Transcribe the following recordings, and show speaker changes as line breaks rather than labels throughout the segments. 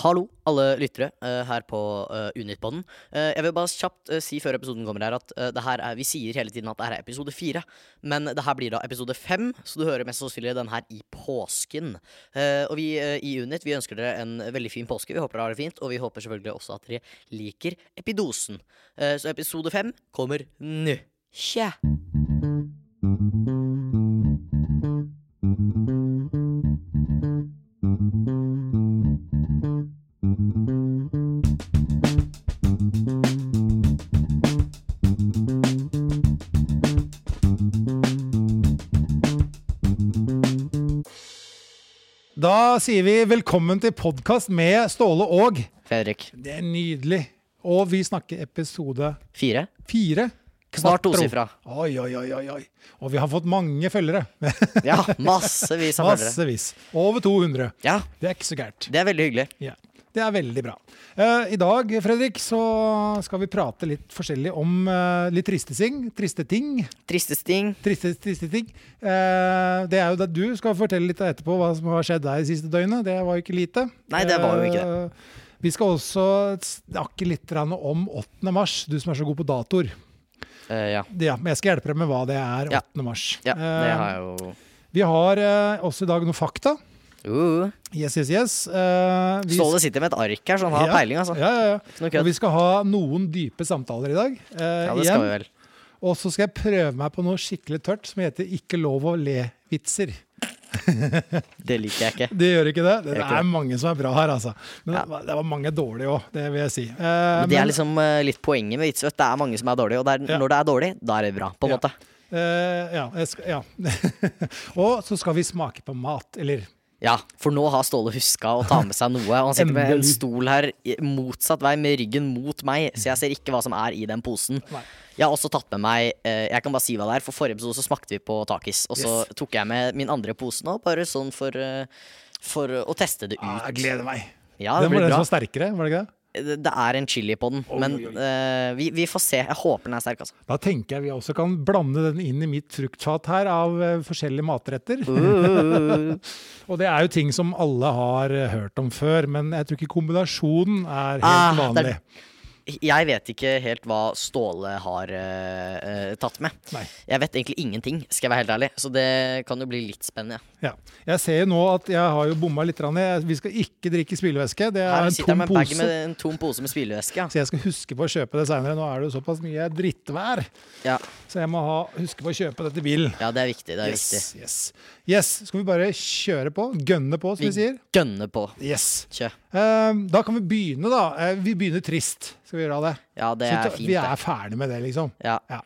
Hallo, alle lyttere eh, her på uh, Unitpodden. Eh, jeg vil bare kjapt eh, si før episoden kommer her at eh, det her er, vi sier hele tiden at det her er episode fire, men det her blir da episode fem, så du hører mest sannsynlig den her i påsken. Eh, og vi eh, i Unit vi ønsker dere en veldig fin påske. Vi håper dere har det fint, og vi håper selvfølgelig også at dere liker epidosen. Eh, så episode fem kommer nå. Tja.
Da sier vi velkommen til podkast med Ståle og
Fredrik.
Det er nydelig. Og vi snakker episode
Fire.
fire.
Snart
Knapt tro.
tosifra.
Oi, oi, oi, oi, oi. Og vi har fått mange følgere.
Ja, massevis av følgere.
Massevis. Over 200.
Ja,
Det er ikke så gærent.
det er veldig hyggelig.
Ja. Det er veldig bra. Eh, I dag Fredrik, så skal vi prate litt forskjellig om eh, litt triste ting. Triste ting.
Tristeste ting.
Triste, triste ting. Eh, det er jo det du skal fortelle litt etterpå, hva som har skjedd deg de siste døgnet. Det var jo ikke lite.
Nei, det var jo ikke
det. vi skal også snakke litt grann om 8. mars, du som er så god på datoer.
Eh, ja.
Ja, men jeg skal hjelpe deg med hva det er 8.
Ja.
mars.
ja, det
Eh,
har jeg jo
vi har eh, også i dag noen fakta.
Uh,
Yes, yes, yes. Eh, vi-
Ståle sitter med et ark her, så han har
Ja.
peiling, altså.
Ja, ja, ja.
Ikke noe
Og
kødd.
vi skal ha noen dype samtaler i dag. eh,
Ja, det skal vi
igjen.
vel.
Og så skal jeg prøve meg på noe skikkelig tørt som heter Ikke lov å le-vitser.
Det liker jeg ikke.
Det gjør ikke det.
Gjør
Det, det
ikke
er mange som er bra her, altså. Men
Ja.
det var- det var mange dårlige òg, det vil jeg si. Eh,
Men det
men,
er liksom eh, litt poenget med vits. vet du. Det er mange som er dårlige, og det er,
Ja.
når det er dårlig, da er det bra. på en
Ja.
måte.
eh, ja, jeg skal, ja. og så skal vi smake på mat, eller
Ja, For nå har Ståle huska å ta med seg noe. Og han sitter med en
Endelig.
stol her i- motsatt vei, med ryggen mot meg, så jeg ser ikke hva som er i den posen.
Nei.
Jeg har også tatt med meg eh, Jeg kan bare si hva det er. For forrige episode så smakte vi på takis, og så tok jeg med min andre pose nå, bare sånn for, eh, for å teste det ut.
ah, Jeg gleder meg.
Ja, Ah, det
den var
blir
den
bra.
som var sterkere, var det ikke det?
Det det er en chili på den, men eh, vi, vi får se. Jeg håper den er sterk, altså.
Da tenker jeg vi også kan blande den inn i mitt fruktfat her av eh, forskjellige matretter.
Mm.
mm, og det er jo ting som alle har eh, hørt om før, men jeg tror ikke kombinasjonen er helt
Ah, det
vanlig.
er- Jeg vet ikke helt hva Ståle har eh, eh, tatt med.
Nei.
Jeg vet egentlig ingenting, skal jeg være helt ærlig. Så det kan jo bli litt spennende.
Ja. Jeg ser jo nå at jeg har jo bomma litt. grann. Jeg- Vi skal ikke drikke spylevæske. Det er
Her
en
sitter
tom
jeg med en bag
pose.
med en tom pose med spylevæske.
Så jeg skal huske på å kjøpe det seinere. Nå er det jo såpass mye drittvær,
Ja. Ja.
så jeg må ha, huske på å kjøpe dette bilen.
ja, det er viktig. Det er
Yes, yes. yes. Skal vi bare kjøre på? Gønne på, som vi
viktig.
sier?
Gønne på.
Yes.
Kjø.
Eh, da kan vi begynne, da. Eh, vi begynner trist. Skal vi gjøre det?
Ja, det
Så
er
ta-
fint.
vi
det.
er ferdig med det, liksom.
Ja.
Ja.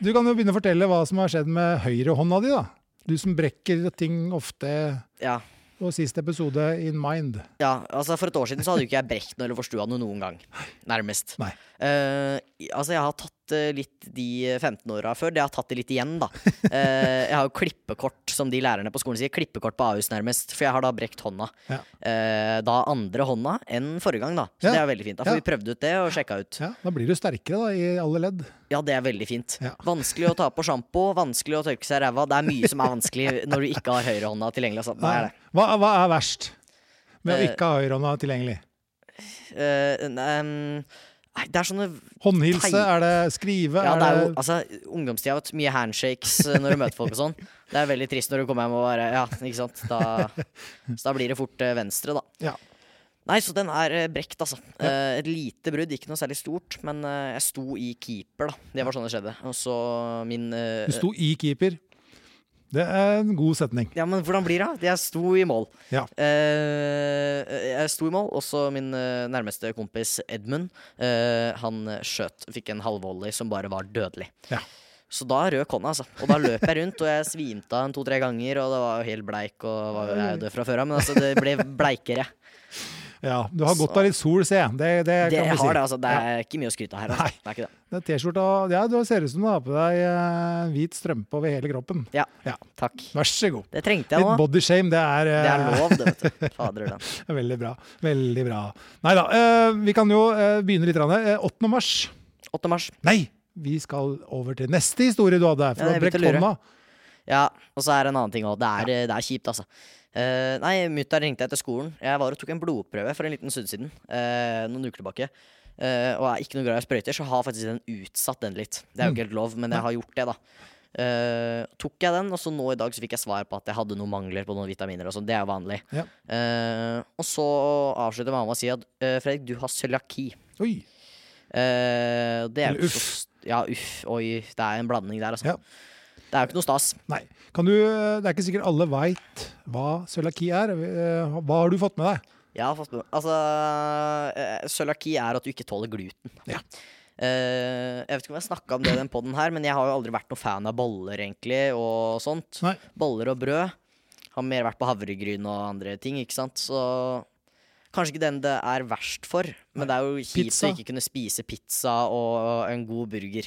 Du kan jo begynne å fortelle hva som har skjedd med høyrehånda di, da. Du som brekker ting ofte.
ja.
Og siste episode, In Mind.
Ja, altså For et år siden så hadde jo ikke jeg brekt noe eller forstua noe noen gang. Nærmest.
Nei.
Eh, altså Jeg har tatt eh, litt de 15 åra før. Jeg har tatt det litt igjen, da. Eh, jeg har jo klippekort, som de lærerne på skolen sier. Klippekort på Ahus, nærmest. For jeg har da brekt hånda.
Ja.
Eh, da andre hånda enn forrige gang, da. Så
Ja.
det er veldig fint. Da får
Ja.
vi prøvd ut det og sjekka ut.
Ja, da blir du sterkere da, i alle ledd.
Ja, det er veldig fint.
Ja.
Vanskelig å ta på sjampo, vanskelig å tørke seg i ræva. Det er mye som er vanskelig når du ikke har høyrehånda tilgjengelig. Altså. Det er det.
Hva, hva er verst med å
Eh,
ikke ha høyrehånda tilgjengelig?
Eh, ehm, nei, det er sånne
Håndhilse,
teit.
er det skrive?
Ja, det er jo,
det-
altså, ungdomstida har vært mye handshakes eh, når du møter folk og sånn. Det er veldig trist når du kommer hjem og bare Ja, ikke sant. Da, så da blir det fort eh, venstre, da.
Ja.
Nei, så den er eh, brekt, altså. Eh, Et lite brudd, ikke noe særlig stort. Men eh, jeg sto i keeper, da. Det var sånn det skjedde. Og så min eh,
Du sto i keeper. Det er en god setning.
Ja, men hvordan blir det? da? Jeg sto i mål.
Ja.
Eh, jeg sto i mål, også min eh, nærmeste kompis Edmund. eh, han skjøt, fikk en halvvolley som bare var dødelig.
Ja.
Så da røk hånda, altså. Og da løp jeg rundt, og jeg svimte av en to-tre ganger, og det var jo helt bleik, og var jo jeg er død fra før av, men altså, det ble bleikere.
Ja, du har godt av litt sol, ser jeg. Det,
Det,
det kan vi
jeg
si.
har det, altså. Det er ikke mye å skryte av her.
Nei.
Altså. Det er ikke det.
Det er T-skjorta og- Ja, du ser ut som du har på deg eh, hvit strømpe over hele kroppen.
Ja.
Ja.
Takk.
Vær så god.
Det trengte jeg
Litt
nå.
bodyshame, det er
Det er
eh,
lov, det, vet du. Fader, den.
Veldig bra. Veldig bra. Nei da, eh, vi kan jo eh, begynne litt. grann, eh, 8. mars.
8. mars.
Nei, vi skal over til neste historie du hadde.
Ja,
For du har
jeg begynte å lure.
brekt hånda.
Ja, og så er det en annen ting òg. Det, er- det er kjipt, altså. Eh, nei, mutter'n ringte etter skolen. Jeg var og tok en blodprøve for en liten stund siden. eh, noen uker tilbake. Eh, og er ikke noe glad i sprøyter, så har faktisk den utsatt den litt. Det
Mm.
er jo ikke helt lov, men jeg har gjort det, da. Eh, tok jeg den, og så nå i dag så fikk jeg svar på at jeg hadde noen mangler på noen vitaminer. og sånn, Det er jo vanlig.
Ja.
Eh, og så avslutter mamma og sier at eh, Fredrik, du har cøliaki.
Oi.
Eh, det er
Eller
jo ikke
uff.
så st- Ja, uff. Oi, det er en blanding der, altså.
Ja.
Det er jo ikke noe stas.
Nei. Kan du, eh, det er ikke sikkert alle veit hva cøliaki er. Eh, Hva har du fått med deg?
Jeg har fått med Altså, eh, cøliaki er at du ikke tåler gluten.
Ja.
Eh, jeg vet ikke om jeg snakka om det i den podden her, men jeg har jo aldri vært noen fan av boller, egentlig, og sånt.
Nei.
Boller og brød. Har mer vært på havregryn og andre ting, ikke sant, så Kanskje ikke den det er verst for, men det er jo kjipt
Pizza.
å ikke kunne spise pizza og en god burger.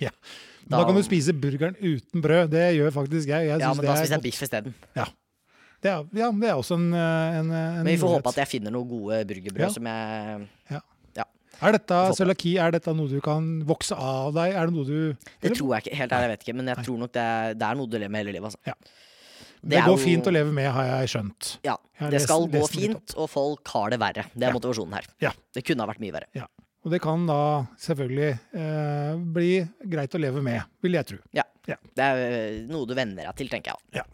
ja. Da, kan du spise burgeren uten brød. Det gjør faktisk jeg. jeg
Ja,
synes
men da
det er
spiser jeg
godt.
biff isteden.
Det er, ja, men det er også en, eh, en, eh,
Men
en
vi får
mulighet.
håpe at jeg finner noen gode burgerbrød
Ja.
som jeg
Er dette
Vi får håpe.
cøliaki er dette noe du kan vokse av deg? Er det noe du
Det
Eller-
tror jeg ikke. Helt ærlig, jeg vet ikke. Men jeg tror nok det er, det er noe du lever med hele livet. Altså.
Ja.
Det
Det,
er
går
jo-
fint å leve med, har jeg skjønt.
Ja,
Jeg har
det
lest-
skal gå
lest litt
fint, og folk har det verre. Det er
Ja.
motivasjonen her.
Ja.
Det kunne ha vært mye verre.
Og det kan da selvfølgelig eh, bli greit å leve med, vil jeg tro.
Det er øh, noe du venner deg til, tenker jeg.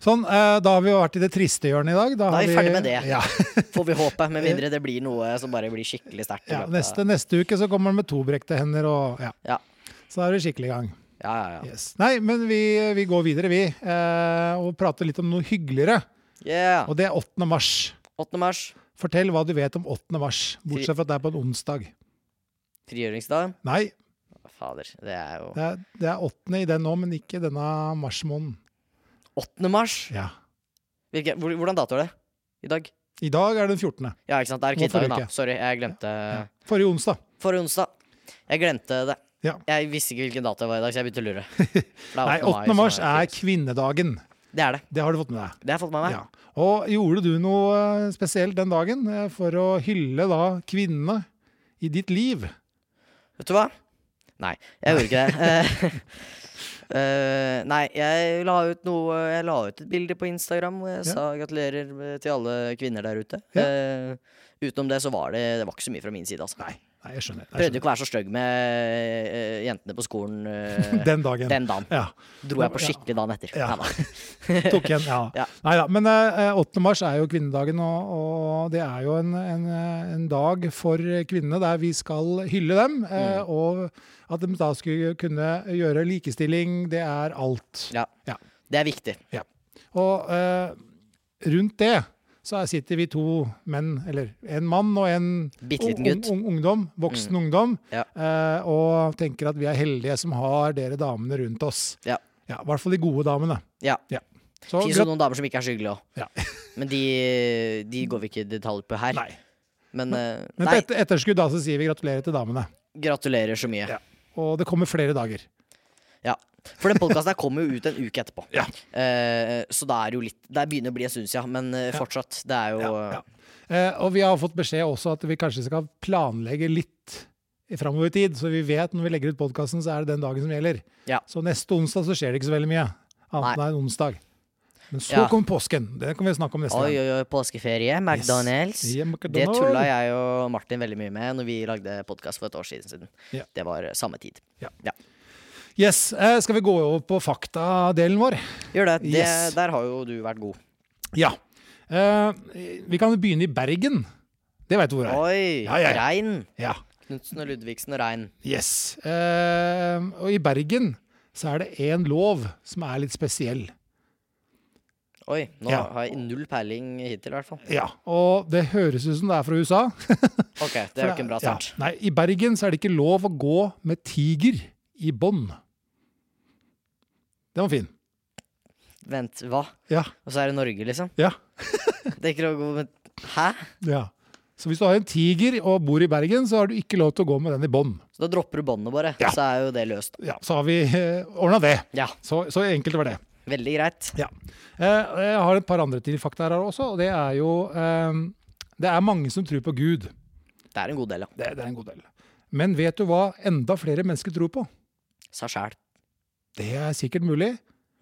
Sånn, eh, da har vi jo vært i det triste hjørnet i dag. Da,
Da er
har
vi ferdig med det.
Ja,
Får vi håpe, med mindre det blir noe som bare blir skikkelig sterkt. i
ja,
løpet av-
neste, neste uke så kommer han med to brekte hender og ja.
Ja.
Så da er vi skikkelig i gang.
Ja, ja, ja.
Yes. Nei, men vi, vi går videre, vi. Eh, og prater litt om noe hyggeligere.
Yeah.
Og det er 8. mars.
8. mars,
Fortell hva du vet om 8. mars, bortsett fra at det er på en onsdag.
frigjøringsdag.
Nei,
Fader, det er jo
det er, det er 8. i den nå, men ikke denne marsmåneden.
8. mars!
Ja.
Hvilke, hvor- hvordan dato er det? I dag?
I dag er det den 14.
Ja, ikke sant. Det er
Nå forrige
kvittdagen, da.
uke.
Sorry, jeg glemte
Forrige onsdag.
Forrige onsdag. Jeg glemte det.
Ja.
Jeg visste ikke hvilken dato det var i dag, så jeg begynte å lure. For det
Nei,
er
8.
som
mars er
frigjøring.
kvinnedagen.
Det er det.
Det har du fått med deg.
Det har jeg fått med meg.
Ja. Og gjorde du noe eh, spesielt den dagen eh, for å hylle da kvinnene i ditt liv?
Vet du hva? Nei, jeg gjorde ikke det. Eh, eh, nei, jeg la ut noe Jeg la ut et bilde på Instagram hvor jeg
Ja.
sa gratulerer med- til alle kvinner der ute.
Ja.
Eh, utenom det så var det Det var ikke så mye fra min side, altså.
Nei, nei jeg skjønner. Jeg
Prøvde ikke å være så stygg med eh, jentene på skolen
skjønner.
eh,
Den dagen.
den dagen.
Ja.
Dro jeg på
Ja.
skikkelig dagen etter.
Ja.
Neida.
Tok igjen, ja.
Ja.
Neida, Men eh, 8. mars er jo kvinnedagen, og, og det er jo en, en, eh, en dag for kvinnene der vi skal hylle dem. eh,
Mm.
Og at de da skulle kunne gjøre likestilling, det er alt.
Ja.
Ja.
Det er viktig.
Og eh, rundt det så her sitter vi to menn, eller en mann og en
Bitte liten
ung-
gutt. Mm.
ung- ungdom, voksen ungdom,
Ja.
eh, og tenker at vi er heldige som har dere damene rundt oss.
Ja.
Ja, I hvert fall de gode damene.
Ja.
Så
Fins jo noen damer som ikke er så hyggelige òg.
Ja.
Men de, de går vi ikke i detalj på her.
Nei.
Men, eh,
Men
nei,
på etter, etterskudd da så sier vi gratulerer til damene.
gratulerer så mye.
Ja. Og det kommer flere dager.
Ja. For den podkasten her kommer jo ut en uke etterpå.
Ja.
Eh, så det er jo litt Det begynner å bli en stund siden, men eh, fortsatt. Det er jo
Ja, ja. Eh, og vi har fått beskjed også at vi kanskje skal planlegge litt framover i tid, så vi vet når vi legger ut podkasten, så er det den dagen som gjelder.
Ja.
Så neste onsdag så skjer det ikke så veldig mye, annet enn en onsdag. Men så
Ja.
kommer påsken. Det kan vi snakke om neste
Oi,
gang.
oi, oi, påskeferie. McDonald's.
Yes. Ja,
Det
McDonald's.
tulla jeg og Martin veldig mye med når vi lagde podkast for et år siden.
Ja.
Det var samme tid.
Yes. Eh, skal vi gå over på faktadelen vår?
Gjør det. det
Yes.
Der har jo du vært god.
Ja. Eh, vi kan begynne i Bergen. Det veit du hvor er.
Oi!
Ja, ja, ja.
Rein.
Ja.
Knutsen og Ludvigsen og Rein.
Yes. Eh, og i Bergen så er det én lov som er litt spesiell.
Oi, nå
Ja.
har jeg null peiling hittil, i hvert fall.
Ja, Og det høres ut som det er fra USA.
Ok, det er jo ikke en bra start.
Ja. Nei, I Bergen så er det ikke lov å gå med tiger i bånd. Den var fin.
Vent, hva?
Ja.
Og så er det Norge, liksom?
ja,
Det er ikke lov å gå med Hæ?
ja. Så hvis du har en tiger og bor i Bergen, så har du ikke lov til å gå med den i bånd.
Så da dropper du båndet bare,
Ja.
så er jo det løst.
Ja, så har vi eh, ordna det.
Ja,
Så, så enkelt var det.
veldig greit.
Ja. Eh, og jeg har et par andre til fakta her også, og det er jo eh, Det er mange som tror på Gud.
Det er en god del, ja.
Det, det er en god del. Men vet du hva enda flere mennesker tror på?
Seg sjæl.
Det er sikkert mulig.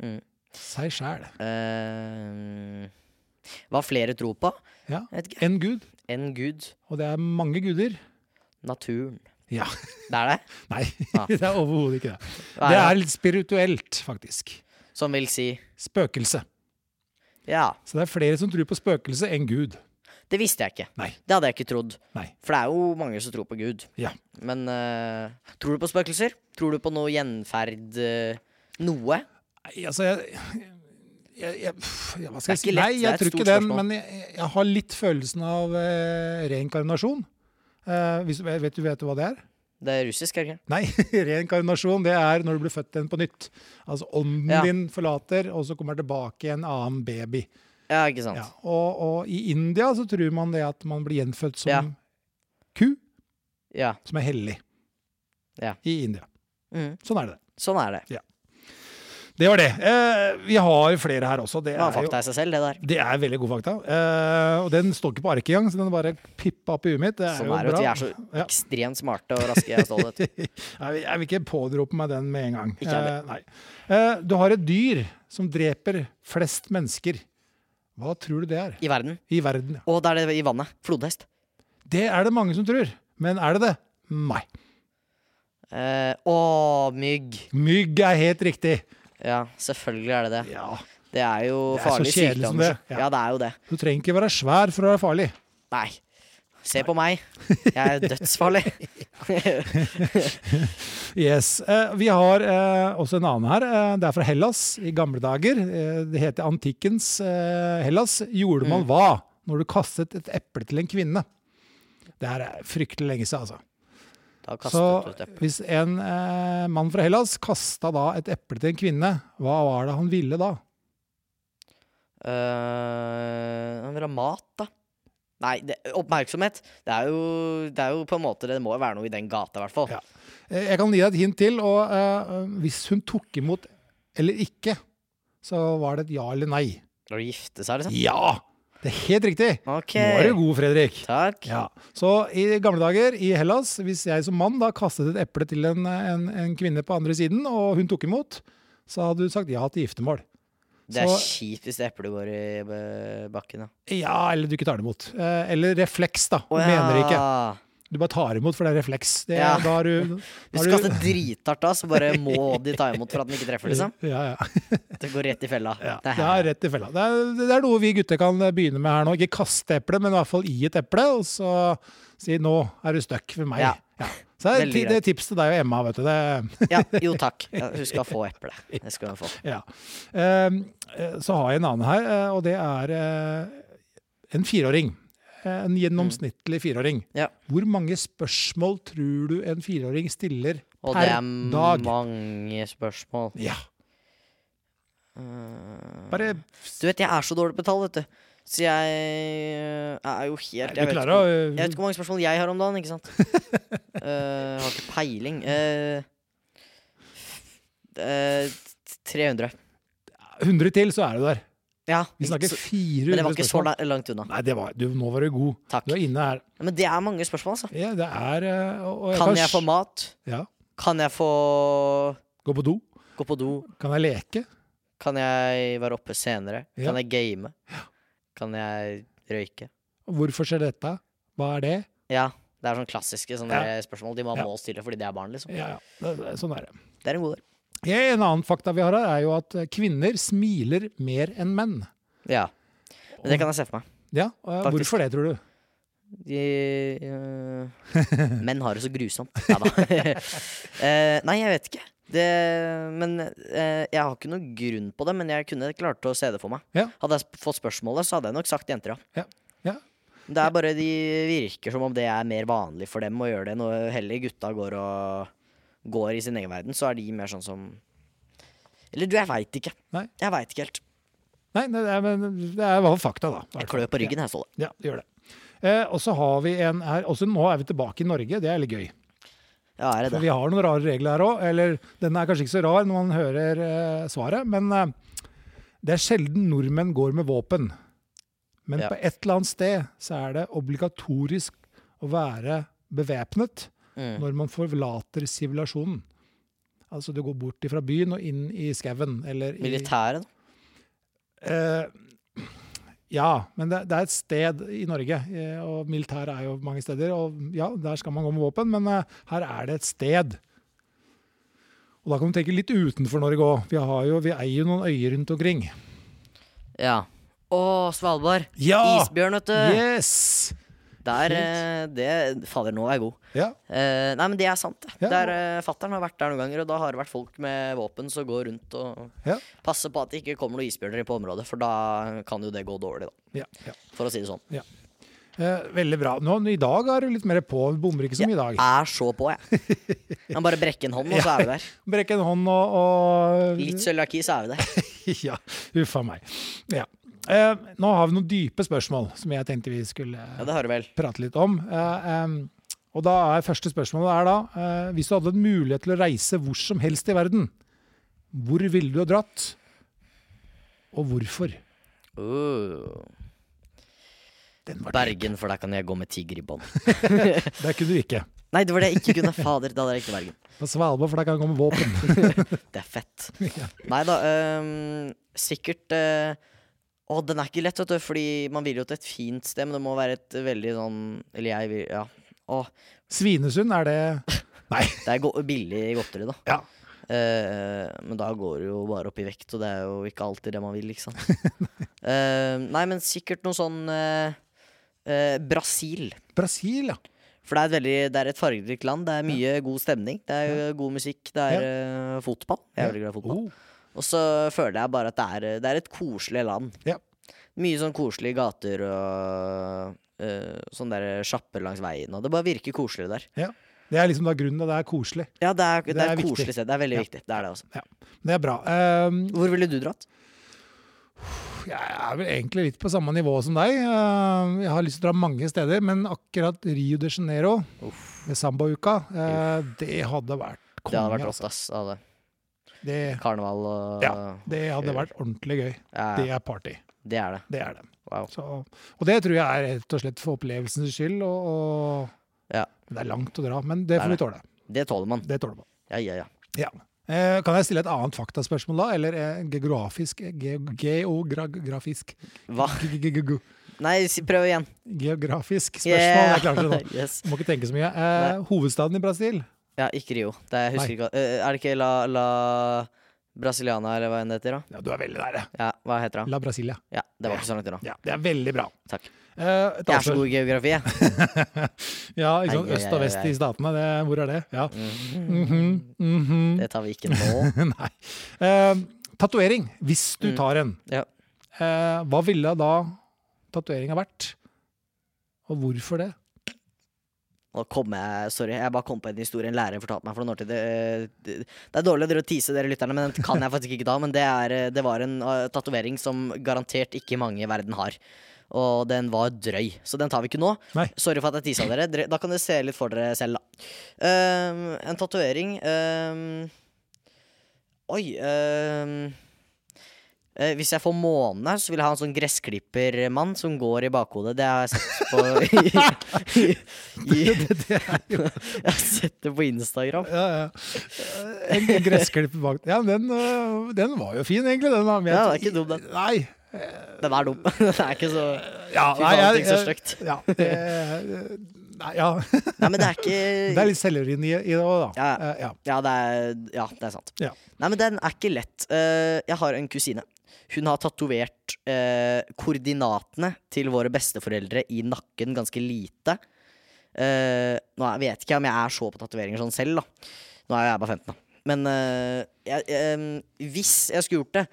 Mm.
Seg sjæl.
Eh, hva flere tror på
Ja.
Jeg vet ikke.
En gud.
enn Gud,
Og det er mange guder.
naturen.
Ja.
Det er det?
Nei,
Ah.
det er overhodet ikke det.
Hva
Det
er
er litt spirituelt, faktisk.
det? Som vil si
Spøkelse.
Ja.
Så det er flere som tror på spøkelse enn Gud.
Det visste jeg ikke.
Nei.
Det hadde jeg ikke trodd.
Nei.
For det er jo mange som tror på Gud.
Ja.
Men eh, tror du på spøkelser? Tror du på noe gjenferd eh, Noe?
Nei, altså jeg, jeg, jeg, pff, ja, Hva skal
Det er
jeg si?
ikke lett, det er
Nei, jeg
et
tror
stort
ikke den,
spørsmål.
men jeg, jeg har litt følelsen av eh, reinkarnasjon. Eh, hvis, vet, du, vet du hva det er?
Det er russisk, er det ikke?
Nei, reinkarnasjon det er når du blir født igjen på nytt. Altså ånden
Ja.
din forlater, og så kommer tilbake i en annen baby.
Ja, ikke sant?
Ja, og, og i India så tror man det at man blir gjenfødt som
Ja.
ku,
Ja.
som er hellig.
Ja.
I India.
Mm.
Sånn er det.
Sånn er det.
Det var det. Eh, vi har flere her også. Det
Det var
er jo
fakta i seg selv, det der.
Det er veldig gode fakta. Eh, og den står ikke på arket engang, så den bare pippa opp i huet mitt. Det er
Sånn
jo
er det.
bra.
Vi er så
Ja.
ekstremt smarte og raske og stolthet.
Jeg, vil- jeg vil ikke pådrope meg den med en gang.
Ikke heller.
Eh, nei. Eh, du har et dyr som dreper flest mennesker. Hva tror du det er?
I verden.
I verden. ja.
Og det er det i vannet. Flodhest.
Det er det mange som tror. Men er det det? Nei.
Eh, å, mygg.
Mygg er helt riktig.
Ja, selvfølgelig er det det.
Ja.
Det er jo
Det er så
farlig
kjedelig som
sykdom.
det, ja.
Ja, det er jo det.
Du trenger ikke være svær for å være farlig.
Nei. Se på meg. Jeg er dødsfarlig.
Yes. Eh, vi har eh, også en annen her. Eh, det er fra Hellas i gamle dager. Eh, det heter antikkens eh, Hellas. Gjorde man hva når du kastet et eple til en kvinne? Det her er fryktelig lenge siden, altså.
Da
Så
kastet du et eple.
hvis en eh, mann fra Hellas kasta da et eple til en kvinne, hva var det han ville da?
Eh, Han vil ha mat, da. Nei, det, oppmerksomhet. Det er, jo, det er jo på en måte Det må jo være noe i den gata, i hvert fall.
Ja. Eh, jeg kan gi deg et hint til, og eh, hvis hun tok imot eller ikke, så var det et ja eller nei.
Når de gifter seg, liksom.
Ja! Det er helt riktig!
OK.
Nå er du god, Fredrik.
Takk.
Ja. Så i gamle dager i Hellas, hvis jeg som mann da kastet et eple til en, en, en kvinne på andre siden, og hun tok imot, så hadde du sagt ja til giftermål.
Det er
Så-
kjipt hvis det eplet går i eh, bakken, ja.
Ja, eller du ikke tar det imot. Eh, eller refleks, da. Du
Å,
Mener ikke.
ja.
Du bare tar imot, for det er refleks. Det,
Ja.
Da har du, da
Hvis
har
du
du-
kaster drithardt da, så bare må de ta imot for at den ikke treffer, liksom.
Ja, ja.
Det går rett i fella.
ja.
Det er-
ja rett i fella. Det er, det er noe vi gutter kan begynne med her nå. Ikke kaste eple, men i hvert fall i et eple, og så si 'nå er du stuck ved meg'.
Ja.
Ja. Så det er
Veldig
ti- det er tips til deg og Emma, vet du. Det
ja, jo takk. Ja, Hun skal få eple. Det skal hun få.
Ja. Ehm, eh, Så har jeg en annen her, eh, og det er eh, en fireåring. Eh, En gjennomsnittlig fireåring.
Ja.
Hvor mange spørsmål tror du en fireåring stiller
Og
per
det er
dag?
mange spørsmål.
Ja,
Eh,
bare
Du vet, jeg er så dårlig på tall, vet du. Så jeg eh, er jo helt
Du
jeg vet,
klarer
ikke,
å eh,
jeg vet ikke hvor mange spørsmål jeg har om dagen, ikke sant? Eh, Jeg har ikke peiling. Eh, eh, 300.
100 til, så er du der.
Ja.
Vi snakker
så-
400
men det var ikke så
spørsmål.
la- langt unna.
Nei, det var, du, nå var du god.
Takk.
Du er inne her.
Men det er mange spørsmål, altså.
Ja, det er eh, og, og
Kan
kan
jeg få
s-
mat?
Ja.
Kan jeg få
Gå på do?
gå på do?
Kan jeg leke?
Kan jeg være oppe senere?
Ja.
Kan jeg game? Kan jeg røyke?
Hvorfor skjer dette? Hva er det?
Ja. Det er sånne klassiske sånne
Ja.
spørsmål de man
Ja.
må stille fordi det er barn. liksom
Ja, ja. Det- det- Sånn er det.
Det er en god del.
En annen fakta vi har her, er jo at eh, kvinner smiler mer enn menn.
Ja. Men det kan jeg se for meg.
Ja, og eh,
Faktisk.
Hvorfor det, tror du?
De, øh, menn har det så grusomt. Nei da. Eh, nei, jeg vet ikke. Det, men eh, Jeg har ikke noen grunn på det, men jeg kunne klart å se det for meg.
Ja.
Hadde jeg sp- fått spørsmålet, så hadde jeg nok sagt jenter,
Ja. Ja.
Det er bare de virker som om det er mer vanlig for dem å gjøre det. Når heller gutta går og går i sin egen verden, så er de mer sånn som Eller du, jeg veit ikke.
Nei.
Jeg veit ikke helt.
Nei, nei, nei men det er i hvert fall fakta, da.
Jeg klør på ryggen, jeg, Ståle.
Ja, det gjør det. Eh, og så har vi en her, også nå er vi tilbake i Norge, det er litt gøy.
Ja, er det
For
det?
vi har noen rare regler her òg. Eller den er kanskje ikke så rar når man hører eh, svaret, men eh, det er sjelden nordmenn går med våpen. Men
Ja.
på et eller annet sted så er det obligatorisk å være bevæpnet
Mm.
når man forlater sivilasjonen. Altså du går bort ifra byen og inn i skauen eller i
Militæret, da?
Eh, ja, men det, det er et sted i Norge, eh, og militær er jo mange steder. Og ja, der skal man gå med våpen, men eh, her er det et sted. Og da kan du tenke litt utenfor Norge òg. Vi, har jo- vi eier jo noen øyer rundt omkring.
Ja. Å, Svalbard.
Ja!
Isbjørn, vet du.
Yes!
Der, eh, det Fader, nå er jeg god.
Ja.
Eh, nei, men det er sant, det.
Ja.
Der eh, Fattern har vært der noen ganger, og da har det vært folk med våpen som går rundt og
Ja.
passer på at det ikke kommer noen isbjørner inn på området, for da kan jo det gå dårlig, da.
ja, ja.
For å si det sånn.
Eh, veldig bra. Nå, I dag er du litt mer på. Vi bommer ikke så mye i dag.
Jeg er så på, jeg. Jeg må bare brekke en hånd, og så er vi der.
Brekke en hånd og, og
Litt cøliaki, så er vi der.
Ja, uff a meg. Ja. Eh, nå har vi noen dype spørsmål som jeg tenkte vi skulle eh,
Ja, det har du vel.
prate litt om. Eh, em, og da er første spørsmålet er da, eh, hvis du hadde en mulighet til å reise hvor som helst i verden, hvor ville du ha dratt, og hvorfor?
Uh,
Den var dyp.
Bergen, for der kan jeg gå med tiger i bånd.
Der kunne du ikke.
Nei, det var det jeg ikke kunne. Fader, da hadde jeg ikke Bergen.
På Svalbard, for der kan det komme våpen.
Det er fett. Nei da, øhm, sikkert øh, Å, den er ikke lett, vet du, fordi man vil jo til et fint sted, men det må være et veldig sånn Eller jeg vil Ja. Å,
Svinesund, er det Nei.
det er go billig godteri, da.
Ja.
Eh, men da går det jo bare opp i vekt, og det er jo ikke alltid det man vil, liksom. Eh, nei, men sikkert noe sånn eh, eh, Brasil.
Brasil, ja.
For det er et veldig Det er et fargerikt land. Det er mye god stemning. Det er jo god musikk. Det er eh, fotball. Jeg er veldig glad i fotball.
Oh,
Og så føler jeg bare at det er, eh, det er et koselig land.
Ja.
Mye sånn koselige gater og eh, sånne der sjapper langs veien. Og det bare virker koselig der.
ja. Det er liksom da grunnen, og det er koselig.
Ja, det er, det
Det
er
er
et
viktig.
koselig sted. Det er veldig
Ja.
viktig. Det er det også.
Det er bra. Um,
Hvor ville du dratt?
Jeg er vel egentlig litt på samme nivå som deg. Eh, Jeg har lyst til å dra mange steder, men akkurat Rio de Janeiro med sambauka, eh, det hadde vært
Det hadde
konge.
vært
altså.
rått, ass. av det.
Det,
Karneval og
Ja. det hadde vært ordentlig gøy.
Ja,
Det er party.
det er det.
Det er det.
Wow.
Så, og det tror jeg er rett og slett for opplevelsens skyld. Og, og
Ja.
men Det er langt å dra, men det
Det er
får vi tåle.
Det tåler man.
Det tåler man.
Ja, ja, ja.
Ja. Eh, Kan jeg stille et annet faktaspørsmål da? Eller eh, geografisk? Ge geografisk
Hva?
Ge- ge- ge- ge-
Nei, si- prøv igjen.
Geografisk spørsmål?
Yeah.
Jeg klarte det nå.
yes.
Må ikke tenke så mye. Eh, hovedstaden i Brasil?
Ja, ikke Rio. Det er, jeg husker ikke, hva- eh, er det ikke La, La Brasiliana, eller hva enn det heter? da?
Ja, du er veldig nære.
Ja, hva heter det?
La Brasilia.
Ja, det var ikke så langt unna.
Ja, det er veldig bra.
Takk.
Eh, et
Jeg
annet
er så
spørsmål.
god i geografi, jeg.
Ja, ikke sant?
Ai, ai,
Øst og
ai,
vest
ai.
i statene, det, hvor er det? Ja. Mhm, mhm.
Mm. Det tar vi ikke nå.
Nei. Eh, Tatovering, hvis du
Mm.
tar en.
Ja.
Eh, hva ville da tatoveringa vært? Og hvorfor det?
Nå kom jeg, Sorry, jeg bare kom på en historie en lærer fortalte meg for noen år siden. Det, det, det er dårlig av dere å tease dere lytterne, men den kan jeg faktisk ikke ta. Men det, er, eh, det var en uh, tatovering som garantert ikke mange i verden har. Og den var drøy, så den tar vi ikke nå.
Nei.
Sorry for at jeg tisa dere. Dere- Da kan dere se litt for dere selv, da. Ehm, en tatovering ehm, Oi. ehm, eh, hvis jeg får måne, så vil jeg ha en sånn gressklippermann som går i bakhodet. Det har jeg sett på i, i, i, jeg har sett det på Instagram.
Ja, ja. En gressklipper bak Ja, den, eh, den var jo fin, egentlig. Den, da, men jeg
Ja,
tror-
det er ikke dum, den.
Nei.
Den er dum. Den er ikke så
Ja,
Fy faen, tenk så stygt.
Ja, det, nei, ja.
Nei, men det er ikke
Det er litt selvironi i det òg, da.
Ja.
Eh, ja.
ja det er, ja, det er sant.
Ja.
Nei, men den er ikke lett. Eh, jeg har en kusine. Hun har tatovert eh, koordinatene til våre besteforeldre i nakken ganske lite. Eh, nå er- vet ikke jeg om jeg er så på tatoveringer sånn selv, da. Nå er jeg bare 15, da. Men eh, jeg, em, hvis jeg skulle gjort det,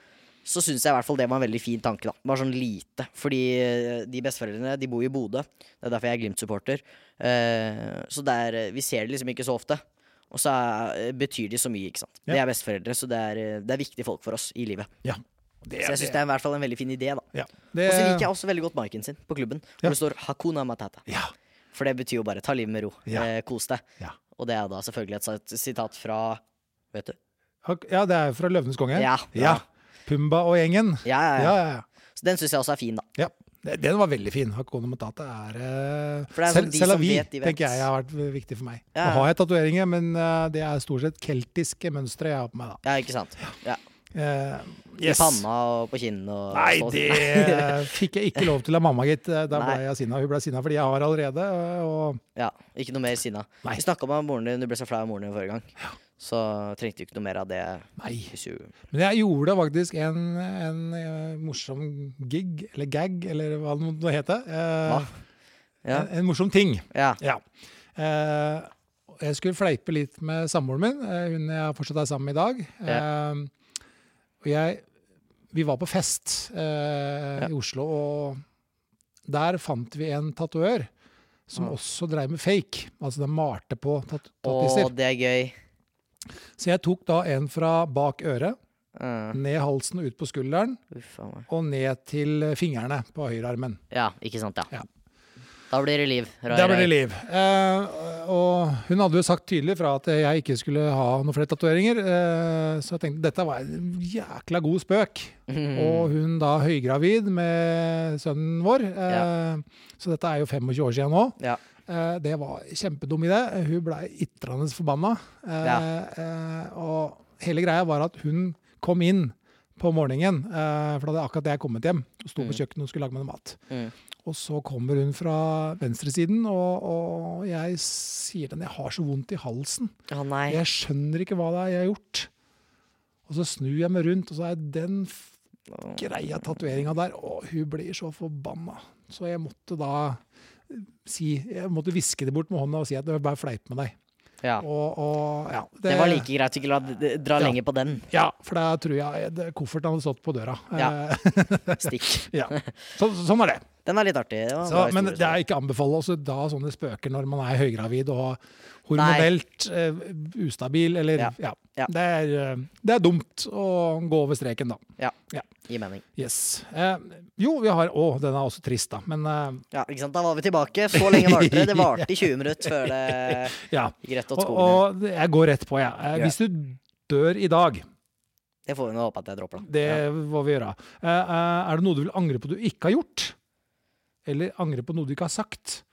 så syns jeg i hvert fall det var en veldig fin tanke. da Bare sånn lite. Fordi eh, de besteforeldrene de bor i Bodø. Det er derfor jeg er Glimt-supporter. Eh, så det er, eh, vi ser det liksom ikke så ofte. Og så er, betyr de så mye, ikke sant.
Ja.
De er besteforeldre, så det er, eh, det er viktige folk for oss i livet.
ja. Det,
Så jeg syns det er i hvert fall en veldig fin idé, da.
ja.
Og
det,
så liker jeg også veldig godt marken sin på klubben, hvor
Ja.
det står Hakuna Matata.
ja.
For det betyr jo bare ta livet med ro,
Ja.
eh, kos deg.
Ja.
Og det er da selvfølgelig et sat- sitat fra Vet du?
Ak- ja, det er fra 'Løvenes konge'?
Ja.
Pumba og gjengen.
Ja, ja,
Ja,
ja.
ja, ja.
Så den syns jeg også er fin, da.
Det- Den var veldig fin. Hakone Matata er, eh,
For det er
Sel-
sånn de
Selavi,
som vet, de vet.
tenker jeg har vært viktig for meg.
Ja.
Nå har jeg tatoveringer, men eh, det er stort sett keltiske mønstre jeg har på meg. da.
Ja, ikke sant. Ja.
Eh,
I panna og på kinnet og
Nei,
sås.
det fikk jeg ikke lov til av mamma, gitt. Da ble
Nei.
jeg sinna. Hun ble sinna fordi jeg har allerede. Og
Ja, Ikke noe mer sinna.
Nei.
Vi snakka om moren din, du ble så flau av moren din forrige gang. Så trengte du ikke noe mer av det.
nei.
Hvis du...
Men jeg gjorde faktisk en, en eh, morsom gig, eller gag, eller hva det måtte hete. Eh,
Hva? Ja.
en, en morsom ting.
ja.
Ja. Eh, jeg skulle fleipe litt med samboeren min, eh, hun jeg fortsatt er sammen med i dag. Eh, og jeg Vi var på fest eh, i Oslo, og der fant vi en tatoør som
Ah.
også dreiv med fake. Altså den malte på tat
Å,
tattiser.
det er gøy.
Så jeg tok da en fra bak øret,
Uh,
ned halsen og ut på skulderen,
Uff a meg.
og ned til fingrene på høyrearmen.
Ja, ikke sant, ja.
Ja.
Da blir det liv. Rai,
Der ble
rai.
det liv. Eh, og hun hadde jo sagt tydelig fra at jeg ikke skulle ha noen flere tatoveringer, eh, så jeg tenkte dette var en jækla god spøk.
Mm.
Og hun da høygravid med sønnen vår, eh, så dette er jo 25 år siden nå.
Ja.
Eh, det var kjempedum idé. Hun blei itrende forbanna. Eh, eh, og hele greia var at hun kom inn på morgenen, eh, for da hadde akkurat jeg kommet hjem og sto på kjøkkenet og skulle lage meg noe mat.
Mm.
Og så kommer hun fra venstresiden, og, og jeg sier den, jeg har så vondt i halsen.
Å nei.
Jeg skjønner ikke hva det er jeg har gjort. Og så snur jeg meg rundt, og så er den f- greia tatoveringa der. Og hun blir så forbanna. Så jeg måtte da eh, si, jeg måtte viske det bort med hånda og si at det var bare fleip med deg.
Ja.
Og, og ja,
Det var like greit å ikke la, dra
Ja.
lenge på den.
Ja, for da tror jeg eh, det- kofferten hadde stått på døra.
Ja.
Eh,
Stikk.
ja. Så, sånn er det.
Den er litt artig. Det var en
Så,
bra
men
historie,
det er ikke anbefalt å dra sånne spøker når man er høygravid og hormonelt eh, ustabil. Eller,
Ja.
ja.
Ja.
Det, er, eh, det er dumt å gå over streken, da.
så Gir mening.
Yes. Eh, jo, vi har Å, den er også trist, da. Men eh,
Ja, ikke sant? Da var vi tilbake. Så lenge varte det. Det varte i 20 minutter før det
ja.
gikk rett
Og,
åt skogen.
og jeg går rett på, jeg. Eh,
Ja.
Hvis du dør i dag,
Det får vi nå håpe at jeg dropper, da.
det
Ja.
må vi gjøre. Eh, eh, er det noe du vil angre på du ikke har gjort? Eller angre på noe du ikke har sagt?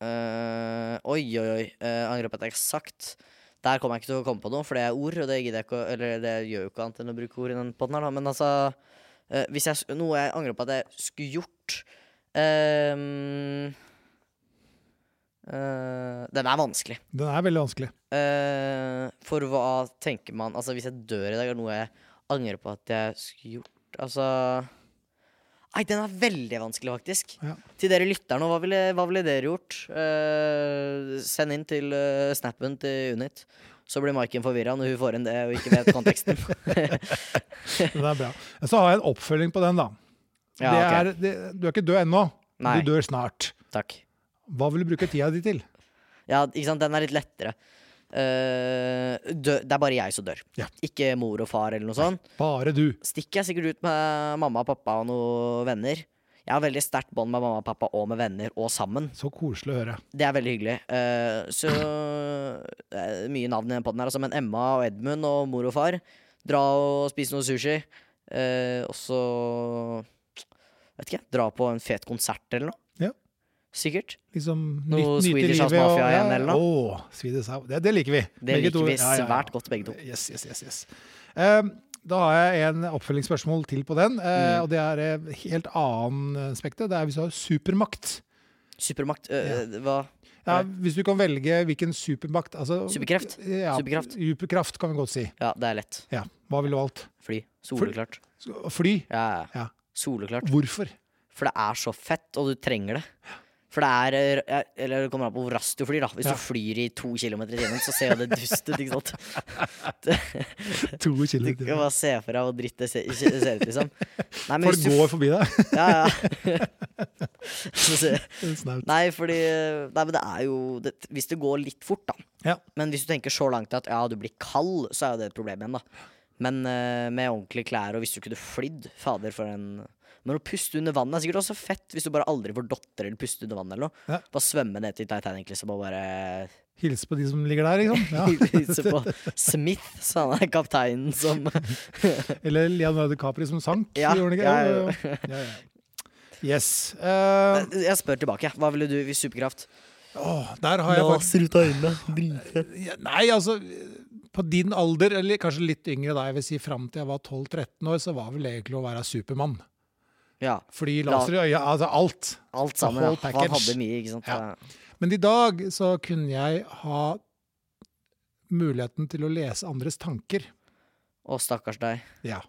Eh, oi, oi, oi. Uh, angrer på at jeg ikke har sagt. Der kommer jeg ikke til å komme på noe, for det er ord, og det gidder jeg ikke å Eller det gjør jo ikke annet enn å bruke ord i den podden her, da. Men altså eh, Hvis jeg s- Noe jeg angrer på at jeg skulle gjort ehm, eh, Den er vanskelig.
Den er veldig vanskelig.
Eh, for hva tenker man Altså, hvis jeg dør i dag, er det noe jeg angrer på at jeg skulle gjort? Altså Nei, den er veldig vanskelig, faktisk.
Ja.
Til dere lytterne, hva ville, hva ville dere gjort? Eh, send inn til eh, snappen til Unit. Så blir Maiken forvirra når hun får inn det og ikke vet konteksten.
Den er bra. Så har jeg en oppfølging på den, da.
ja,
det
ok.
er, det, du er ikke død ennå,
Nei.
men du dør snart.
Takk.
Hva vil du bruke tida di til?
Ja, ikke sant, den er litt lettere. Eh, dø, det er bare jeg som dør.
Ja.
Ikke mor og far eller noe sånt.
Bare du.
stikker jeg sikkert ut med mamma og pappa og noen venner. Jeg har veldig sterkt bånd med mamma og pappa og med venner og sammen.
Så koselig å høre.
Det er veldig hyggelig. Eh, så eh, Mye navn i den poden her, altså, men Emma og Edmund og mor og far. Dra og spise noe sushi. Eh, og så Vet ikke, dra på en fet konsert eller noe.
Ja.
Sikkert.
Liksom,
Noe
nyt- nyte
Swedish House
livet og-
Mafia igjen, eller
Åh, Swedish House. Det, det liker vi.
Det
Begge to.
liker vi
Ja, ja, ja.
svært godt, begge to.
Yes, yes, yes, yes. Eh, da har jeg en oppfølgingsspørsmål til på den, eh,
Mm.
og det er eh, helt annen eh, spekter. Det er hvis du har supermakt.
Supermakt. eh, Hva?
Ja, hvis du kan velge hvilken supermakt altså,
Superkreft?
Ja,
Superkraft?
superkraft kan vi godt si.
Ja, det er lett.
Ja. Hva ville du valgt?
Fly. Soleklart.
Fly?
Ja, ja.
Ja.
Soleklart.
Hvorfor?
For det er så fett, og du trenger det. For det er eh, Eller det kommer an på hvor raskt du flyr, da. Hvis
Ja.
du flyr i to kilometer i timen, så ser jo det dust ut, ikke sant.
To
Du kan
kilometer.
bare se for deg hvor dritt det ser, ser ut, liksom. Nei, men
Folk
hvis du
går forbi deg.
Ja, ja. Så se-
Snaut.
Nei, fordi Nei, men det er jo det, Hvis det går litt fort, da.
Ja.
Men hvis du tenker så langt at ja, du blir kald, så er jo det et problem igjen, da. Men eh, med ordentlige klær, og hvis du kunne flydd, fader, for en Men å puste under vannet er sikkert også fett, hvis du bare aldri får dotter eller puste under vannet eller noe.
Ja.
Bare svømme ned til Titanic, liksom, og bare
Hilse på de som ligger der, liksom.
hilse på Smith, så han er kapteinen som
Ja. Eller Leonardo DiCaprio som sank.
Ja,
gjorde han ikke?
ja,
Jo, jo, jo. Ja, ja. Yes. Eh,
Jeg spør tilbake, jeg. Hva ville du hvis superkraft?
Åh, der har jeg faktisk
ut av øynene. Dritfett.
Ja, Nei, altså på din alder, eller kanskje litt yngre da, jeg vil si fram til jeg var 12-13 år, så var vel egentlig å være Supermann.
Ja.
Fly, laser i øya, altså alt.
Alt sammen.
whole
Ja. Han
package.
hadde mye, ikke sant.
Ja. Men i dag så kunne jeg ha muligheten til å lese andres tanker.
Å, stakkars deg.
Ja.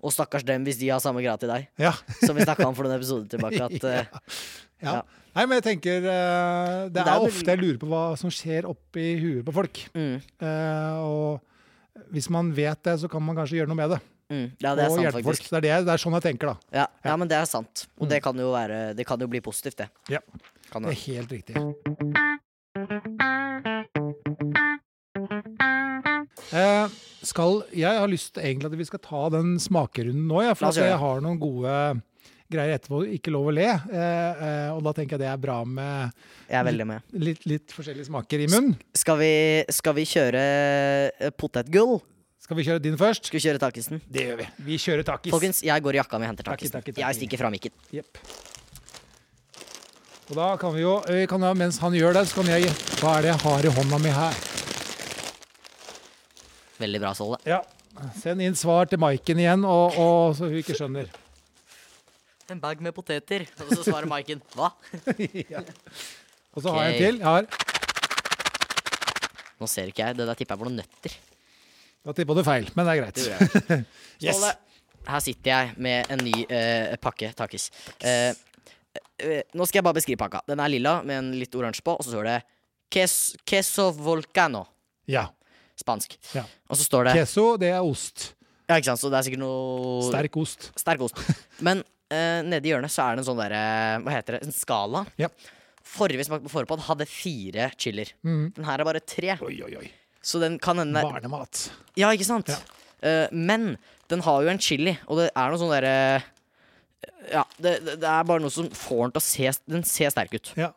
Og stakkars dem hvis de har samme grad til deg.
Ja.
Som vi snakka om for noen episoder tilbake. At, eh,
ja.
Ja.
Nei, men jeg tenker eh, Det
Det
er
er vel-
ofte jeg lurer på hva som skjer oppi huet på folk.
mm,
Eh, og hvis man vet det, så kan man kanskje gjøre noe med det.
mm, ja, det er
og
sant,
hjelpe folk.
faktisk.
Det er, det, jeg- det er sånn jeg tenker, da.
Ja, ja, men det er sant. Og det kan jo, være, det kan jo bli positivt, det.
Ja.
Kan
Det
jo.
er helt riktig. Eh, skal, jeg har lyst egentlig at vi skal ta den smakerunden nå, ja,
La
for
oss
at
gjøre det.
jeg har noen gode greier etterpå. Ikke lov å le. Eh, eh, og da tenker jeg det er bra med
Jeg er veldig med.
litt, litt forskjellige smaker i munnen.
Skal vi, skal vi kjøre eh, potetgull?
Skal vi kjøre din først?
Skal vi kjøre takisen?
Det gjør vi. Vi kjører takis.
Folkens, jeg går i jakka mi og henter
Takis,
takisen.
takis, takis.
Jeg stikker fra mikken.
Jepp. Og da kan vi jo vi kan, da- Mens han gjør det, så kan jeg gjette hva er det jeg har i hånda mi her.
Veldig bra, Solle.
Ja. Send inn svar til Maiken igjen, og, og, så hun ikke skjønner.
En bag med poteter. Og så svarer Maiken hva?
Og så har jeg
Ok.
en til. Jeg har,
Nå ser ikke jeg. Det der tipper jeg var noen nøtter.
da tippa du feil, men det er
Det
greit.
gjorde jeg. Ståle, Her sitter jeg med en ny eh, pakke takis. Eh, eh, nå skal jeg bare beskrive pakka. Den er lilla med en litt oransje på, og så står det "Ques- queso volcano.
Ja.
Spansk.
Ja.
Og så står det
Queso, det er ost.
Ja, ikke sant, så det er sikkert noe
Sterk ost.
Sterk ost. Men eh, nede i hjørnet så er det en sånn derre Hva heter det? En skala.
Ja.
Forrige vi smakte på forpå, hadde fire chiller.
Mm.
Den her er bare tre.
Oi, oi, oi.
Så den kan hende det er-
Barnemat.
Ja, ikke sant?
Ja.
Eh, men den har jo en chili, og det er noe sånn derre ja, det, det det er bare noe som får den til å se Den ser sterk ut.
Ja.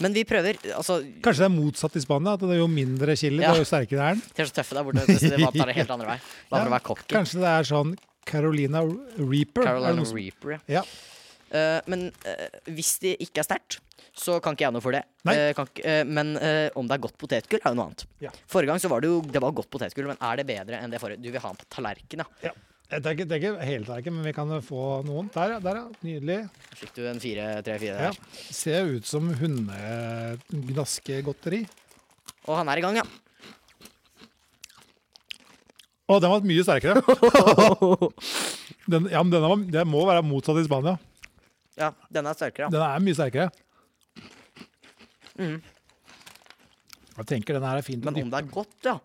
Men vi prøver. Altså, de
Kanskje det er motsatt i Spania? At det er jo mindre chili,
Ja.
det er jo sterkere er den?
er så tøffe der borte. Så det bare tar det helt andre vei. Da får det
Ja,
være cocky.
Kanskje det er sånn Carolina Reaper? er det
Carolina
noe som-
Reaper. ja.
Ja.
Eh, men eh, hvis det ikke er sterkt, så kan ikke jeg noe for det.
Nei.
Eh, kan ikke, eh, men eh, om det er godt potetgull, er jo noe annet.
Ja.
Forrige gang så var det jo det var godt potetgull, men er det bedre enn det forrige? Du vil ha den på tallerken, ja.
ja. Det er ikke, det er ikke hele tallerkenen, men vi kan få noen. Der, ja. der ja. Nydelig.
Fikk du en fire, tre, fire
Ja.
der.
Ser ut som hundegnaskegodteri.
Og han er i gang, ja.
Å, den var mye sterkere. Den, ja, men denne var, det må være motsatt i Spania.
ja denne er sterkere, ja.
Den er mye sterkere. Jeg tenker den her er fin. å
Mm. Men om
dyppe.
det er godt, ja.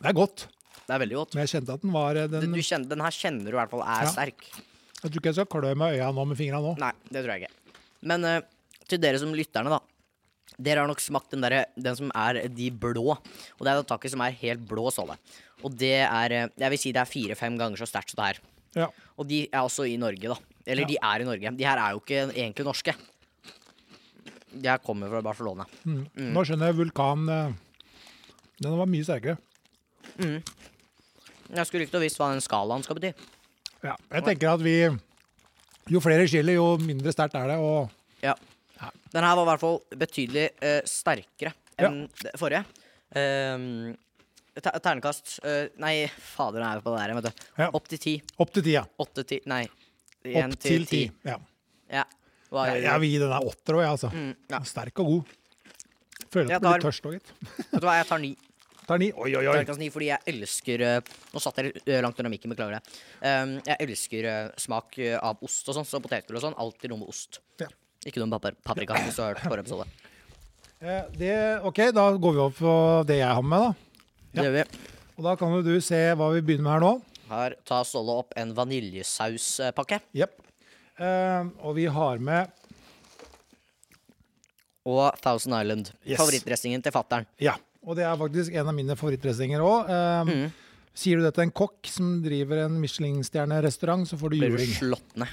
Det er godt,
Det er veldig godt.
men jeg kjente at den var eh,
Du
den, Jeg
kjenner, den her kjenner du i hvert fall er
Ja.
sterk.
tror ikke jeg skal klø meg i øya nå med fingrene nå.
Nei, det tror jeg ikke. Men eh, til dere som lytterne, da. Dere har nok smakt den, derre- den som er de blå. Og det er det taket som er helt blå såle. Og det er eh, Jeg vil si det er fire-fem ganger så sterkt som det her.
Ja.
Og de er også i Norge, da. Eller de er i Norge. De her er jo ikke egentlig norske. De her kommer fra Barcelona.
Mm. Nå skjønner jeg vulkan eh, Den var mye sterkere.
Jeg skulle ikke visst hva den skalaen skal bety.
Ja. Jeg tenker at vi Jo flere chili, jo mindre sterkt er det. Og
Ja. Den her var i hvert fall betydelig eh, sterkere enn det forrige. Ehm, te- ternekast eh, Nei, fader, nå er vi på det der, vet du.
Ja.
Opp til ti.
opp til ti, ja.
Åtte til Nei. en
Opp til ti. Ja.
Ja. Hva
Jeg,
gjør
jeg
du?
vil gi den her åtter òg, jeg, altså.
Mm, ja.
Sterk og god. Føler
Jeg
at jeg blir
tar-
tørst òg, gitt.
Vet du hva, jeg tar ni.
Tar ni. Oi, oi, oi.
Ternekast ni fordi jeg elsker eh, Nå satt jeg eh, langt under mikken, beklager det. Ehm, jeg elsker eh, smak eh, av ost og sånn, så potetgull og sånn. Alltid noe med ost.
Ja.
Ikke noe med papri- paprika, hvis du har hørt forrige episode.
Eh, Det, ok, da går vi opp på det jeg har med, da.
Det gjør vi.
Og da kan jo du se hva vi begynner med her nå.
Her tar Ståle opp en vaniljesauspakke.
Jepp. Eh, og vi har med
og Thousand Island.
Yes.
Favorittdressingen til fattern.
Ja. Og det er faktisk en av mine favorittdressinger òg. Eh,
Mm.
Sier du det til en kokk som driver en Michelin-stjernerestaurant, så får du
Blir du
juling.
slått ned.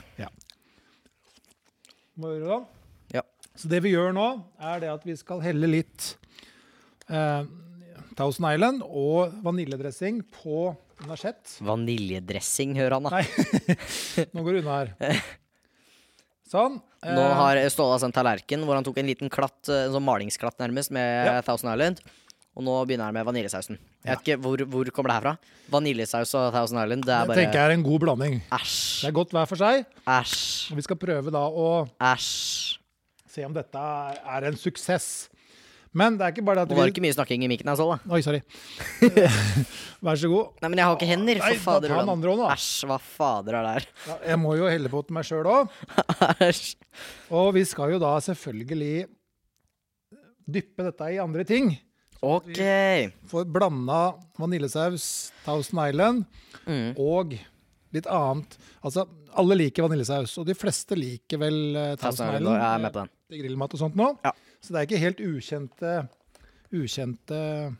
Må gjøre det.
Ja.
Så det vi gjør nå, er det at vi skal helle litt eh, Thousand Island og vaniljedressing på en asjett.
Vaniljedressing, hører han da.
Nei, nå går det unna her. Sånn.
Nå har Ståle sendt tallerken hvor han tok en liten klatt, eh, en sånn malingsklatt nærmest, med
Ja.
Thousand Island. Og nå begynner han med vaniljesausen. Jeg vet ikke, Hvor, hvor kommer det her fra? Vaniljesaus og Thousand Island, det er
Eh, Det
bare
tenker jeg er en god blanding. Det
Æsj.
er godt hver for seg.
Æsj.
og Vi skal prøve da å
Æsj.
se om dette er- er en suksess. Men det er ikke bare det
Det var
at
det ikke mye snakking i mikken her, Ståle.
vi Oi, sorry. Vær så god.
Nei, men jeg har ikke hender, for
Nei, da
fader.
ta den
Ulland.
andre hånden, da.
Æsj, hva fader er det her?
Ja, Jeg må jo helle på til meg sjøl òg.
Æsj.
Og vi skal jo da selvfølgelig dyppe dette i andre ting.
OK.
For blanda vaniljesaus, Thousand Island
Mm.
og litt annet. Altså, alle liker vaniljesaus, og de fleste liker vel eh,
Thousand
Thousand
Island, jeg er
Island
med på den.
til grillmat og sånt nå.
Ja.
Så det er ikke helt ukjente, ukjente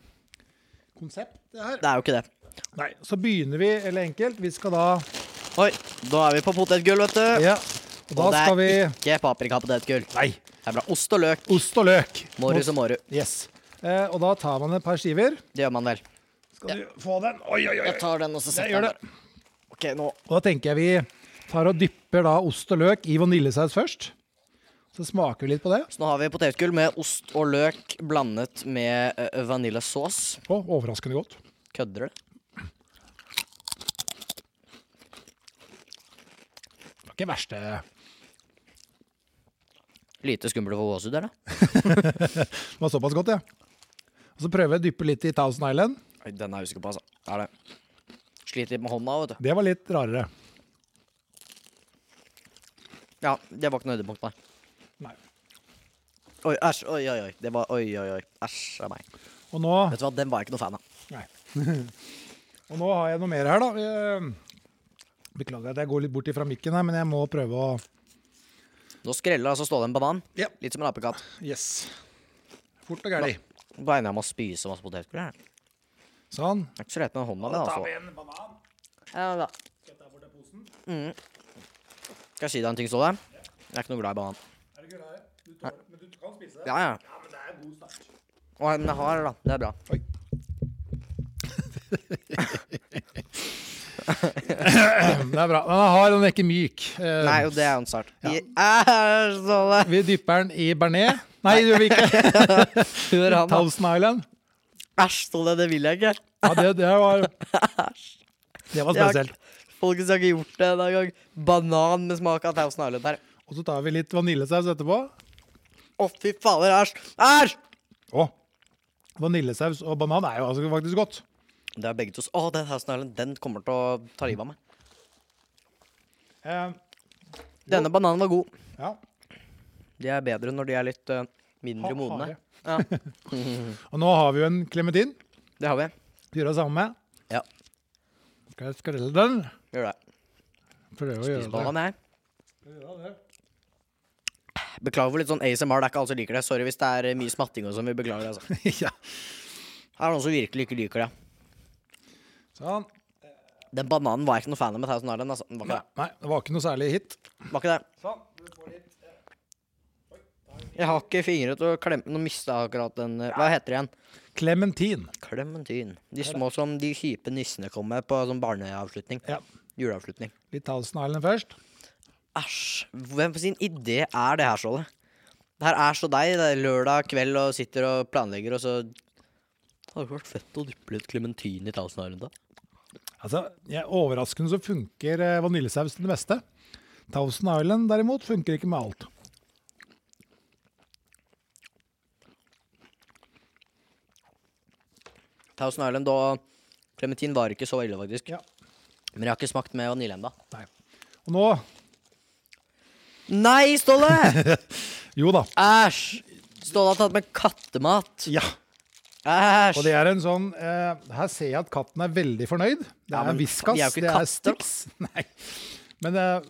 konsept, det her.
Det er jo ikke det.
Nei, så begynner vi, eller enkelt. Vi skal da
Oi, da er vi på potetgull, vet du.
Ja, og da
og det er
skal vi
ikke paprika potetgull.
Nei,
Det er bra. Ost og løk.
ost og løk.
Måru som måru.
Yes. Eh, og da tar man et par skiver.
Det gjør man vel.
Skal du få den? Oi, oi, oi.
Jeg tar den, og så
Jeg
setter
gjør
jeg
det.
den der. OK, nå.
Og da tenker jeg vi tar og dypper da ost og løk i vaniljesaus først. Så smaker vi litt på det.
Så nå har vi potetgull med ost og løk blandet med uh, vaniljesaus.
Å, overraskende godt.
Kødder du?
Det var ikke verst, det.
Lite skumle for gåsehud, eller?
Det var såpass godt, ja. Og så prøver jeg å dyppe litt i Thousand Island.
Oi, Den er jeg usikker på, altså. Er det. Sliter litt med hånda, vet du.
Det var litt rarere.
Ja, det var ikke noe høydepunkt, nei.
Nei.
Oi, æsj, oi, oi, oi. Det var oi, oi, oi. Æsj av meg.
Og nå,
Vet du hva, den var jeg ikke noe fan av.
nei. og nå har jeg noe mer her, da. Eh, Beklager at jeg går litt bort ifra mikken her, men jeg må prøve å
Nå skreller altså Ståle en banan.
Ja.
Litt som en apekatt.
Yes. Fort og gæli.
Da ender jeg med å spise masse potetgull. her. Det
Sånn.
er ikke så lett med hånda, men altså.
en banan.
Ja, da.
Skal jeg ta bort den posen?
Mm. Skal jeg si deg en ting, Ståle? Jeg er ikke noe glad i banan.
Er det gulrøtter? Du tar det, men du kan spise det.
Ja, ja.
Ja, men det er god start.
Å, men jeg har det, da. Det er bra.
Oi. det er bra. Den er hard, den er ikke myk. Eh,
Nei, og det er jo en start. I- Æsj, Ståle!
Vi dypper den i bearnés. Nei, det gjør vi ikke.
Hør han, da.
Thousand Island.
Æsj, Ståle, det vil jeg ikke.
Ja, det, det var Det var
Jeg har-
spesielt.
Folkens, jeg har ikke gjort det en gang. Banan med smak av Thousand Island her.
Og så tar vi litt vaniljesaus etterpå.
Å, fy fader, æsj! Æsj!
Å, vaniljesaus og banan er jo altså faktisk godt.
Det er begge to s- Å, den Thousand Island, den kommer til å ta livet av meg.
Eh,
Denne bananen var god.
ja.
De er bedre når de er litt eh, mindre
Ha-
modne.
harde.
Ja,
Og nå har vi jo en klementin.
det har vi.
Gjør det samme med.
Ja,
Skal jeg skrelle den?
gjør det.
Prøve å
Spis
gjøre det.
banan, jeg.
Ja, det.
Beklager for litt sånn ASMR, det er ikke alle som liker det. Sorry hvis det er eh, mye smatting og sånn, vi beklager det, altså.
ja.
Her er det noen som virkelig ikke liker det.
Sånn.
Den bananen var jeg ikke noe fan av med Thousand Island, altså. Den var
Nei,
ikke det.
nei, det var ikke noe særlig hit.
Var ikke det.
Sånn. Du får litt eh,
Jeg har ikke fingre til å klemme Nå mista jeg akkurat den eh, Hva heter det igjen?
Klementin.
Klementin. De små som de kjipe nissene kom med på sånn barneavslutning.
Ja.
Juleavslutning.
Litt Thousand Island først.
Æsj. Hvem sin idé er det her, Ståle? Det her er så deg. Det er lørdag kveld og sitter og planlegger, og så Det hadde vært fett å dyppe litt klementin i Thousand Island, da.
Altså, jeg er Overraskende så funker eh, vaniljesaus til det meste. Thousand Island derimot funker ikke med alt.
Thousand Island og klementin var ikke så ille, faktisk.
Ja.
Men jeg har ikke smakt med vanilje ennå.
Nei. Og nå
Nei, Ståle!
Jo da.
Æsj! Ståle har tatt med kattemat.
Ja.
Æsj!
Og det er en sånn eh, Her ser jeg at katten er veldig fornøyd. Det
Ja,
er
men
Whiskas,
vi er jo ikke
det
katter.
er Stix. Nei. Men eh,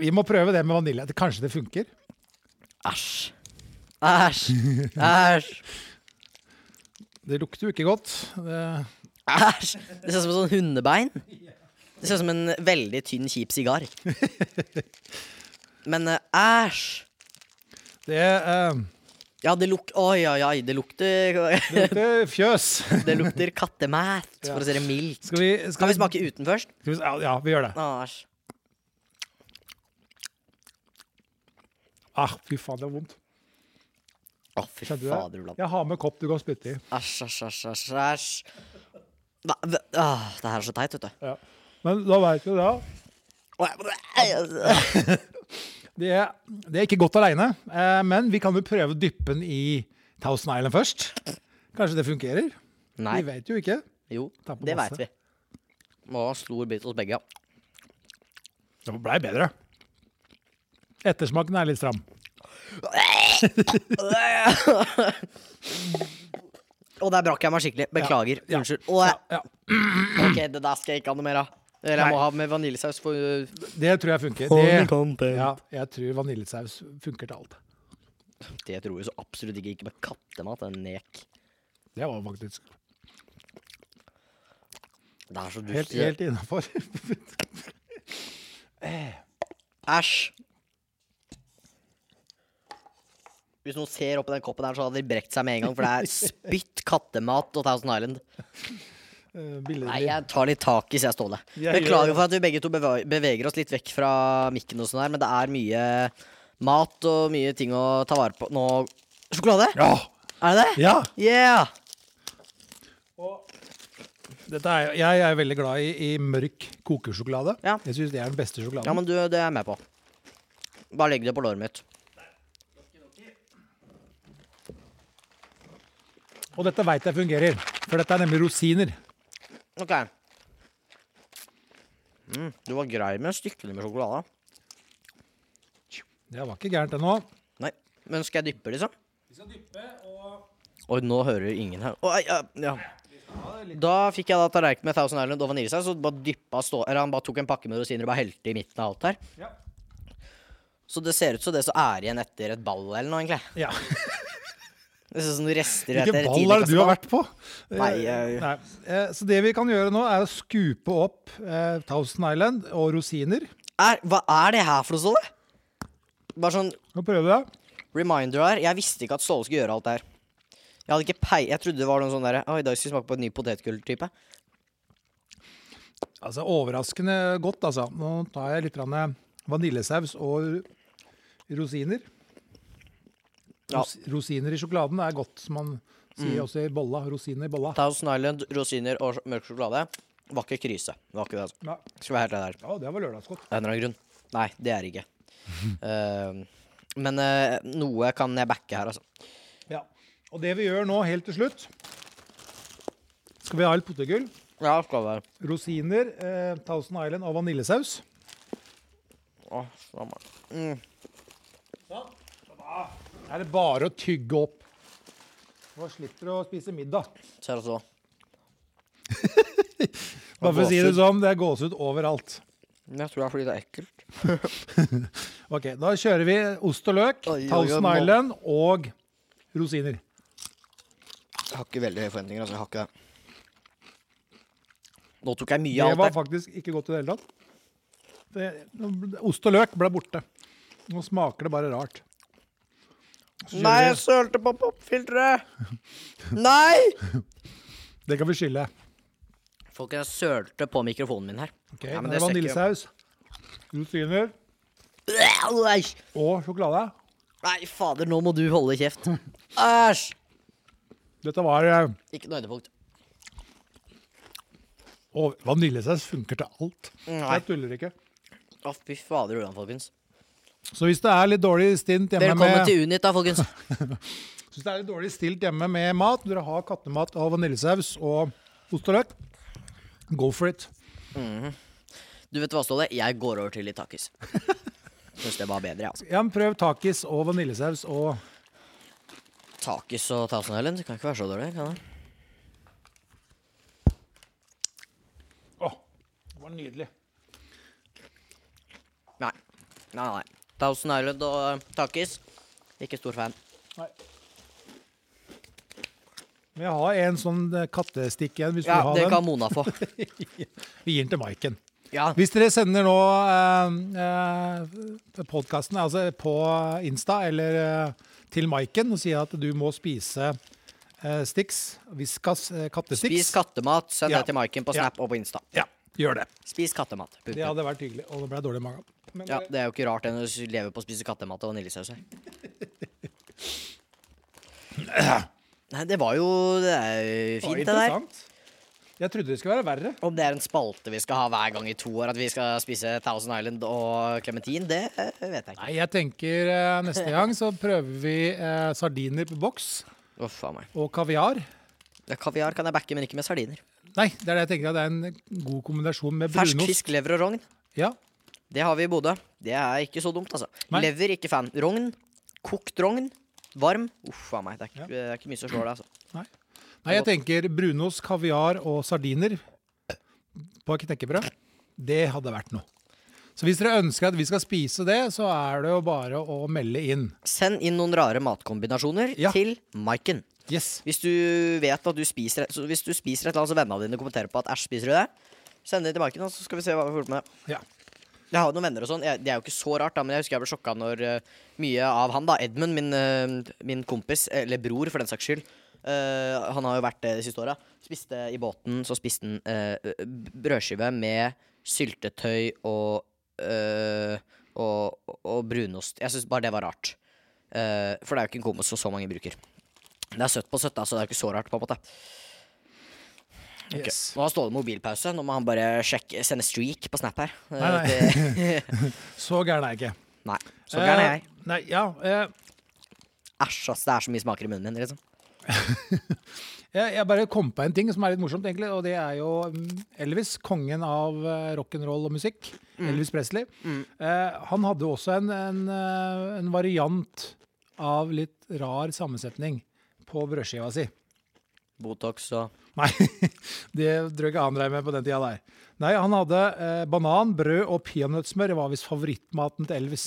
vi må prøve det med vanilje. Det- Kanskje det funker?
Æsj. Æsj. Æsj.
Det lukter jo ikke godt. Det-
Æsj! Det ser ut som en sånn hundebein. Det ser ut som en veldig tynn, kjip sigar. Men eh, æsj!
det eh,
Ja, det lukter Oi, oi, oi, det lukter
det lukter fjøs.
Det lukter kattemat, for å si det mildt.
Skal vi, skal
Kan vi smake uten først?
Skal vi, ja, ja, vi gjør det.
Å, Æsj.
Ah, fy faen, det er vondt.
Å, fy
Skjønner du det?
fader, Ulland.
Jeg har med kopp du kan spytte i.
Æsj, æsj, æsj, æsj, æsj. Hva- hva- ah, Det her er så teit, vet du.
Ja. Men da veit du det. Det, det er ikke godt aleine, eh, men vi kan jo prøve dyppen i Thousand Island først. Kanskje det fungerer?
Nei.
Vi vet jo ikke.
Jo,
Ta på
det
masse.
veit vi. Og stor bit hos begge. ja.
Det blei bedre. Ettersmaken er litt stram.
Og der brakk jeg meg skikkelig. Beklager.
Ja, ja,
Unnskyld. eh, Å, jeg-
Ja,
ok, det der skal jeg ikke ha noe mer av. Eller jeg må
Nei.
ha med vaniljesaus. For, øh,
det tror jeg funker. Det, ja, jeg tror vaniljesaus funker til alt.
Det tror jeg så absolutt ikke. Ikke med kattemat. En nek.
Det var faktisk
Det er så
helt,
dust.
helt eh, innafor.
Æsj. Hvis noen ser oppi den koppen her, så hadde de brekt seg med en gang. For det er spytt, kattemat og Thousand Island. Nei, jeg tar litt tak i, sier jeg, Ståle.
Jeg gjør
Beklager
det.
for at vi begge to beva- beveger oss litt vekk fra mikken og sånn her, men det er mye mat og mye ting å ta vare på. Nå Sjokolade?
Ja!
Er det det?
ja.
Yeah!
Dette er, jeg er veldig glad i, i mørk kokesjokolade.
Ja.
Jeg syns det er den beste sjokoladen.
Ja, men du, det er jeg med på. Bare legg det på låret mitt.
Og dette veit jeg fungerer, for dette er nemlig rosiner.
OK. Mm, du var grei med stykkene med sjokolade.
Det var ikke gærent ennå.
Nei, men skal jeg dyppe, liksom?
Vi skal dyppe og
Oi, nå hører ingen her. Oi, ja, ja. Da fikk jeg da tallerken med Thousand Island og vaniljesaus, og bare dyppa stå... Eller han bare tok en pakke med rosiner og bare helte i midten av alt her.
Ja.
Så det ser ut som det som er igjen etter et ball eller noe, egentlig.
ja.
Det ser ut som noen rester etter et
Hvilken ball er det du
tidligkasseball.
har vært på?
Nei,
Eh,
jeg-
Nei. Eh, Så det vi kan gjøre nå, er å skupe opp eh, Thousand Island og rosiner.
Er, hva er det her for noe, Ståle? Bare sånn
Skal vi prøve det?
reminder her. Jeg visste ikke at Ståle skulle gjøre alt det her. Jeg hadde ikke pei... Jeg trodde det var noen sånn derre Oi, i dag skal vi smake på et ny potetgull-type.
Altså, overraskende godt, altså. Nå tar jeg litt grann eh, vaniljesaus og rosiner.
Ja.
Ros rosiner i sjokoladen er godt, som man sier også i bolla. Rosiner i bolla.
Thousand Island, rosiner og sj- mørk sjokolade. Var ikke krise. Var ikke det, altså.
Ja,
Skal være helt ærlig her.
ja, det var lørdagsgodt.
Av en eller annen grunn. Nei, det er det ikke. Ehm, men eh, noe kan jeg backe her, altså.
Ja. Og det vi gjør nå, helt til slutt Skal vi ha litt potetgull?
Ja, skal være.
Rosiner, eh, Thousand Island og vaniljesaus.
Å, slammer.
Da er det bare å tygge opp. Og slipper å spise middag.
Ser altså.
Bare for å si det sånn, det er gåsehud overalt.
Men Jeg tror det er fordi det er ekkelt.
Ok, Da kjører vi ost og løk,
Oi, oi, oi,
Thousand
må-
Island og rosiner.
Jeg har ikke veldig høye forventninger, altså. Jeg har ikke det. Nå tok jeg mye
Det
av alt
var
der.
faktisk ikke godt i det hele tatt. Det, ost og løk ble borte. Nå smaker det bare rart. Så kjører
Nei,
vi-
jeg sølte på popfilteret! Nei!
Det kan vi skylde.
Folk, jeg sølte på mikrofonen min her.
Ok,
Nei, men
det er
ser ikke-
vaniljesaus, rosiner
Nei,
og sjokolade.
Nei, fader, nå må du holde kjeft. Æsj!
Dette var eh,
Ikke noe høydepunkt.
Og vaniljesaus funker til alt.
Nei.
Jeg tuller ikke.
Å, fy fader, hvordan, folkens.
Så hvis det er litt dårlig stint hjemme
Velkommen
med
til Unit, da, folkens.
Hvis det er litt dårlig stilt hjemme med mat, dere har kattemat og vaniljesaus og ost og løk, go for it.
Du vet hva, Ståle? Jeg går over til litt takis. Syns det var bedre, altså.
Ja, men prøv takis og vaniljesaus og
Takis og Thousand Island det kan ikke være så dårlig, kan det?
Å, det var nydelig.
Nei. Nei, nei. Thousand Island og eh, takis. Ikke stor fan.
Nei. Men jeg har en sånn eh, kattestikk igjen, hvis
Ja,
du
det
vil ha
kan Mona få.
den. Vi gir den til Maiken.
Ja.
Hvis dere sender nå eh, eh, podkasten altså på Insta eller eh, til Maiken og sier at du må spise eh, Stix, Viskas eh, kattesticks
Spis kattemat. Send
Ja.
det til Maiken på
Ja.
Snap og på Insta.
Ja, gjør det.
Spis kattemat.
Det
Punktum.
hadde vært hyggelig. Og det ble dårlig i magen. Men eh,
Ja,
det-
Det er jo ikke rart en lever på å spise kattemat og vaniljesaus. Nei, det var jo Det er jo
var
fint, det der.
interessant. Jeg trodde det skulle være verre.
Om det er en spalte vi skal ha hver gang i to år, at vi skal spise Thousand Island og Clementine, det eh, vet jeg ikke.
Nei, jeg tenker eh, neste gang så prøver vi eh, sardiner på boks
Uff a meg.
og kaviar.
Ja, Kaviar kan jeg backe, men ikke med sardiner.
Nei, det er det jeg tenker at det er en god kombinasjon med
Fersk
brunost.
fisk, lever og rogn.
Ja.
Det har vi i Bodø. Det er ikke så dumt, altså.
Nei.
Lever, ikke fan. Rogn. Kokt rogn. Varm. Uff a meg. Det er, ikke, det er ikke mye som slår det, altså.
Nei, jeg tenker brunost, kaviar og sardiner på knekkebrød. Det hadde vært noe. Så hvis dere ønsker at vi skal spise det, så er det jo bare å melde inn.
Send inn noen rare matkombinasjoner
Ja.
til Maiken.
Yes.
Hvis du vet at du spiser så Hvis du spiser et eller annet, så vennene dine kommenterer på at æsj, spiser du det? Send det til Maiken, og så skal vi se hva vi får gjort med det.
Ja.
Jeg har jo noen venner og sånn. Jeg- Det er jo ikke så rart, da, men jeg husker jeg ble sjokka når eh, mye av han, da, Edmund, min, eh, min kompis, eller bror for den saks skyld eh, Han har jo vært det de siste åra. Spiste i båten, så spiste han eh, b- brødskive med syltetøy og, eh, og, og brunost. Jeg syns bare det var rart. Eh, for det er jo ikke en kombo som så mange bruker. Det er søtt på søtt, da, så det er jo ikke så rart, på en måte. Ok,
Yes.
Nå har Ståle mobilpause. Nå må han bare sjekke, sende streak på Snap her. Eh,
Nei, nei.
det-
Så gæren er jeg ikke.
Nei. Så gæren er jeg.
Eh, Nei, ja. Eh,
Æsj, ass. Det er så mye smaker i munnen min. liksom.
Jeg, jeg bare kom på en ting som er litt morsomt, egentlig, og det er jo mm, Elvis, kongen av eh, rock'n'roll og musikk. Elvis Presley. Eh, han hadde jo også en, en, eh, en variant av litt rar sammensetning på brødskiva si.
Botox og
Nei, det tror jeg ikke han drev med på den tida der. Nei, han hadde eh, banan, brød og peanøttsmør. Det var visst favorittmaten til Elvis.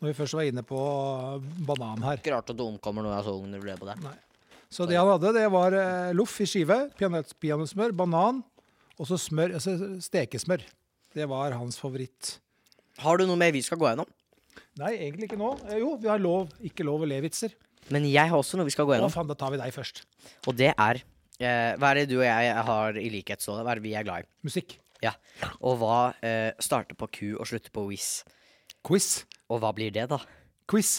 Når vi først var inne på eh, banan her.
Ikke rart at du omkommer når jeg er så ung når du ble på det.
Så det han hadde, det var eh, loff i skive, peanøtt- peanøttsmør, banan og så smør, altså stekesmør. Det var hans favoritt.
Har du noe mer vi skal gå gjennom?
Nei, egentlig ikke nå. Eh, jo, vi har lov, ikke lov å le vitser.
Men jeg har også noe vi skal gå
Å,
gjennom,
faen, da tar vi deg først.
og det er eh, Hva er det du og jeg har i likhet så? Hva er det vi er glad i?
Musikk.
Ja. Og hva eh, starter på Q og slutter på Wiz?
Quiz.
Og hva blir det, da?
Quiz.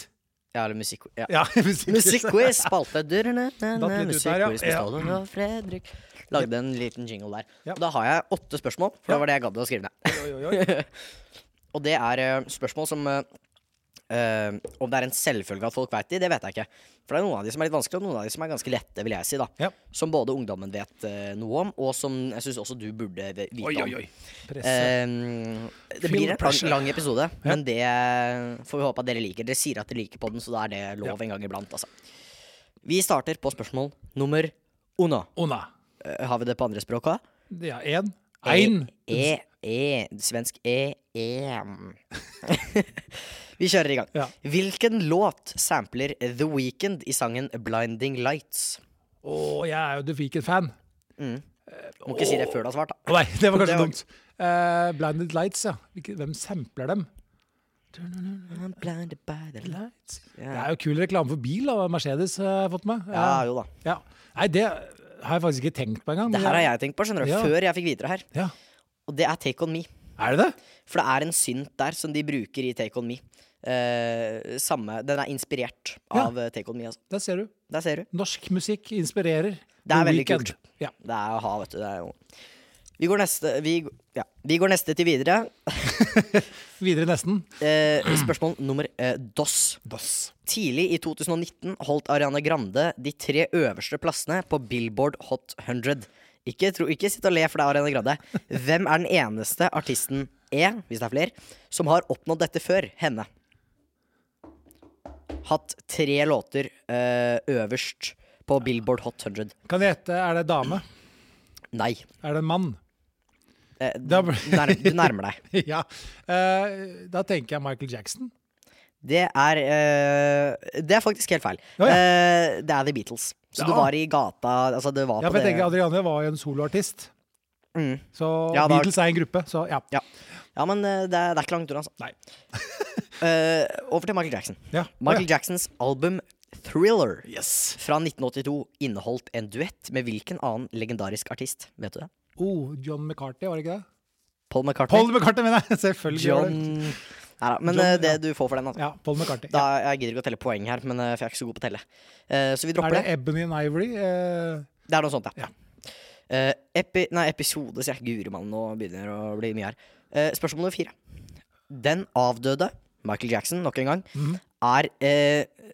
Ja, eller musikk... Ja.
Ja, musikk.
Musikkquiz, spalte Durene, na, na,
Datt litt ut der, ja.
Musikkquiz med
Ja.
Ståle og Fredrik. Lagde en liten jingle der.
Ja.
Og da har jeg åtte spørsmål, for det var det jeg gadd å skrive ned.
Oi, oi, oi.
Og det er eh, spørsmål som eh, eh, Om det er en selvfølge at folk veit de, det vet jeg ikke. For det er noen av de som er litt vanskelige, og noen av de som er ganske lette, vil jeg si. da
Ja.
Som både ungdommen vet eh, noe om, og som jeg syns også du burde ve- vite
Oi, oi,
om.
oi. Presse.
Ehm, det blir
Feel the
en lang,
pressure.
lang episode, men det eh, får vi håpe at dere liker. Dere sier at dere liker på den, så da er det lov en gang iblant, altså. Vi starter på spørsmål nummer uno.
Ona.
Eh, har vi det på andre språk òg?
Ja, én. Ein.
E, e, svensk e, e. Vi kjører i gang.
Ja.
Hvilken låt sampler The Weeknd i sangen 'Blinding Lights'?
Å, jeg er jo The Weekend-fan.
Må ikke si det før du har svart, da.
Å nei, det var
Det
kanskje
var-
dumt. Eh, Blinded Lights, ja. Hvilke- Hvem sampler dem?
I'm blinded by the light.
Lights. Det er jo kul reklame for bil, da. Mercedes eh, har jeg fått med.
Ja, jo da.
Ja. Nei, det har jeg faktisk ikke tenkt på engang.
Det her har jeg tenkt på, skjønner du.
Ja.
Før jeg fikk vite det her.
Ja.
Og det er 'Take On Me'.
Er det det?
For det er en synt der som de bruker i 'Take On Me'. Eh, samme, den er inspirert
Ja.
av eh, 'Take On Me'. Altså.
Der ser du.
Der ser du.
Norsk musikk inspirerer.
Det er
The
veldig
Weeknd.
kult.
Ja.
Det er å ha, vet du. Det er jo Vi går neste, vi, ja. vi går neste til videre.
Videre nesten.
Eh, spørsmål nummer eh, DOS.
Dass.
Tidlig i 2019 holdt Ariana Grande de tre øverste plassene på Billboard Hot 100. Ikke, tro, ikke sitt og le, for det er Ariana Grande. Hvem er den eneste artisten E, hvis det er flere, som har oppnådd dette før henne? Hatt tre låter eh, øverst på Billboard Hot 100.
Kan jeg gjette, er det dame?
Nei.
Er det en mann?
Eh,
Da ble-
du nær- du nærmer deg.
ja. Eh, da tenker jeg Michael Jackson.
Det er eh, Det er faktisk helt feil.
Å, ja.
Eh, det er The Beatles. Så du
Ja.
var i gata Altså, det var
Ja,
på
for jeg
det
tenker Adriane var jo en soloartist.
Mm.
Så
Ja, da-
Beatles er en gruppe, så ja.
Ja, men eh, det er, det er ikke langt unna, altså.
Nei.
Eh, over til Michael Jackson.
ja.
Michael Jacksons album Thriller
Yes.
fra 1982 inneholdt en duett med hvilken annen legendarisk artist? Vet du det?
Oh, John McCartney, var det ikke det?
Paul McCartney?
Paul McCartney, mener jeg! Selvfølgelig. var det.
John Neida, men
John-
eh, det
ja.
du får for den, altså.
Ja, Paul McCartney.
Da, jeg gidder ikke å telle poeng her, men eh, for jeg er ikke så god på å telle. Eh, så vi
Er
dropper
det
det.
Ebony and Ivory? Eh,
Det er noe sånt, ja.
Ja.
Eh, epi, nei, episode, sier jeg. Guri mann, nå begynner det å bli mye her. Eh, spørsmål nummer fire. Den avdøde Michael Jackson, nok en gang,
Mhm.
er, eh,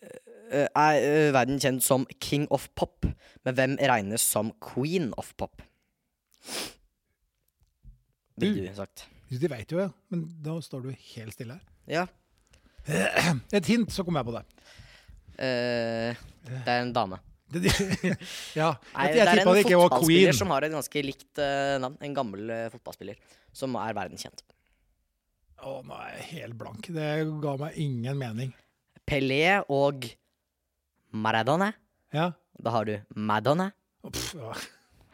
eh, er eh, verden kjent som king of pop. Men hvem regnes som queen of pop? Vil
Du.
du sagt.
de veit jo, ja. Men da står du helt stille her.
Ja.
Et hint, så kom jeg på det.
eh, det er en dame.
det de, ja.
Nei,
Jeg,
det
jeg
er en
tippa det ikke var
fotballspiller
Queen.
som har et ganske likt eh, navn. En gammel eh, fotballspiller som er verdenskjent.
Å, nå er jeg helt blank. Det ga meg ingen mening.
Pelé og Maradona.
Ja.
Da har du Madonna.
Pff, ja.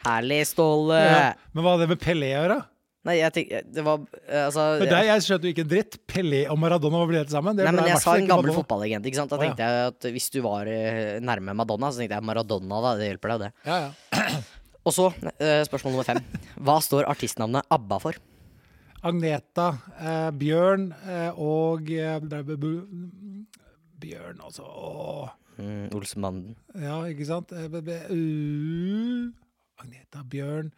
Herlig, Ståle!
Ja. Men hva har det med Pelé å gjøre?
Nei, jeg tenker Det var eh, Altså
For deg, jeg skjønte jo ikke en dritt. Pelé og Maradona var ble til sammen. Det
Nei,
ble
men
i
jeg
hvert
sa
fall
en
ikke
gammel
Maradona.
fotballegent, ikke sant. Da
Å, ja.
tenkte jeg at hvis du var eh, nærme Madonna, så tenkte jeg Maradona, da. Det hjelper deg, det.
Ja, ja.
Og så eh, spørsmål nummer fem. Hva står artistnavnet ABBA for?
Agneta, eh, Bjørn eh, og eh, ble- ble- ble- Bjørn, altså. Åh.
Mm, Olsenbanden.
Ja, ikke sant? Eh, ble- ble- uh, Agneta, Bjørn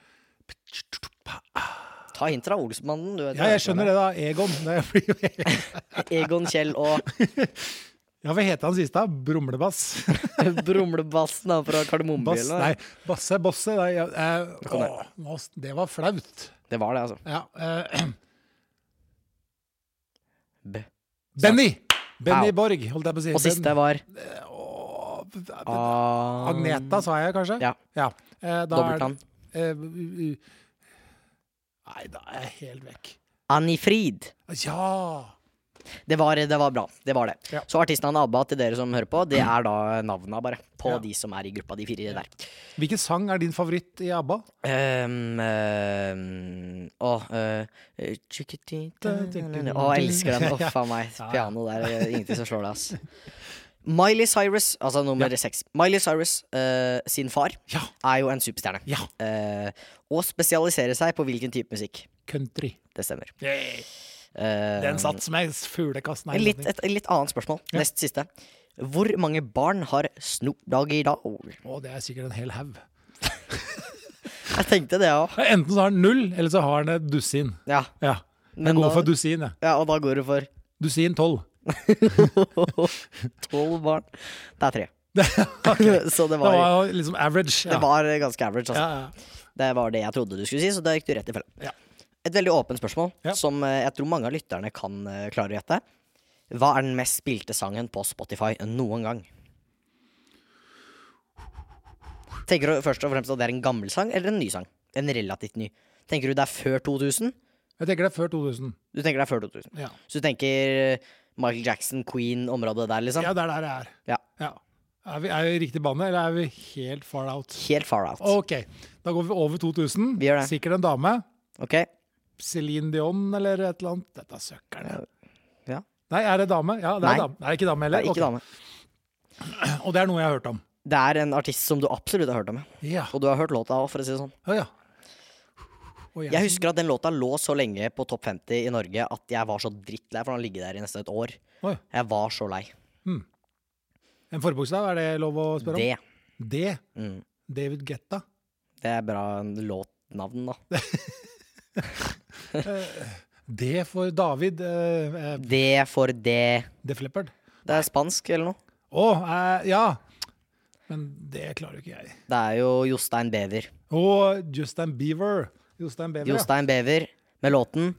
Ta hint fra Olsenbanden, du. vet
Ja, jeg skjønner det, da. Egon. Det blir jo
Egon Kjell og
Ja, hva het han siste? da? Brumlebass?
Brumlebassen da, fra
Bass,
Kardemommebyen.
nei, Basse, Bosse nei, ja, eh,
kom
åh, nå s- Det var flaut.
Det var det, altså.
Ja, eh,
B.
E, Benny! Benny
Au.
Borg, holdt jeg på å si.
Og siste var
Ben, åh, b- b-
ah,
Agneta, sa jeg kanskje?
Ja.
Eh, da er
Dobbeltnavn.
det- eh, u- u- Nei, da er jeg helt vekk.
Anifrid.
Ja!
Det var, det var bra. Det var det.
Ja. Mm.
Så artistnavnet ABBA til dere som hører på, det er da navna bare på
Ja.
de som er i gruppa, de fire der.
Hvilken sang er din favoritt i ABBA?
Um, um, å, eh, Å, jeg elsker den. Å, faen meg.
Ja, ja.
Piano der. eh, Ingenting som slår det, ass. Miley Cyrus, altså nummer seks. Miley Cyrus eh, sin far
Ja.
er jo en superstjerne.
Ja,
Eh, og spesialiserer seg på hvilken type musikk.
country.
Det stemmer.
Yay.
Eh,
Den satt som ei fuglekasse. Nei,
litt,
den-
et litt annet spørsmål.
Ja.
Nest siste. Hvor mange barn har Snoop Dogg i dag?
Å, det er sikkert en hel haug.
Jeg tenkte det òg.
Enten så har han null, eller så har han et dusin.
Ja.
Ja. Jeg
Men
går
da-
for dusin, jeg.
ja, og da går du for
Dusin tolv.
tolv barn. Det er tre. Så det
Det
var,
var liksom average.
det
Ja.
var ganske average. Altså.
Ja, ja.
Det var det jeg trodde du skulle si, så da gikk du rett i fella.
Ja.
Et veldig åpent spørsmål
Ja.
som eh, jeg tror mange av lytterne kan eh, klare å gjette. Hva er den mest spilte sangen på Spotify noen gang? Tenker du først og fremst at det er en gammel sang eller en ny sang? En relativt ny. Tenker du det er før 2000?
Jeg tenker det er før 2000.
Du tenker det er før 2000.
Ja,
Så du tenker eh, Michael Jackson, Queen-området der, liksom?
ja det er der det er.
Ja.
Er, vi, er vi i riktig bane, eller er vi helt far out?
Helt far out.
OK, da går vi over 2000.
Vi gjør det.
Sikkert en dame.
Ok?
Céline Dion eller et eller annet. Dette søkkeren.
Ja.
Nei, er det dame? Ja, det
Nei.
er dame. Er det ikke dame
Det
heller?
er ikke
Ok.
dame.
Og det er noe jeg har hørt om.
Det er en artist som du absolutt har hørt om. ja.
Ja.
Og du har hørt låta òg, for å si det sånn.
Å, ja. Og
Jeg husker at den låta lå så lenge på topp 50 i Norge at jeg var så drittlei for den har ligget der i nesten et år.
Oi.
Jeg var så lei.
En forbokstav, er det lov å spørre om?
Det.
D.
Mm.
David Getta.
Det er bra låtnavn, da.
D for David eh, eh,
Det for det.
Def Leppard.
Det er spansk eller noe.
Å, eh, ja! Men det klarer jo ikke jeg.
Det er jo Jostein Bever.
Og Justin Bieber. Justin Bieber, ja.
Jostein Bever med låten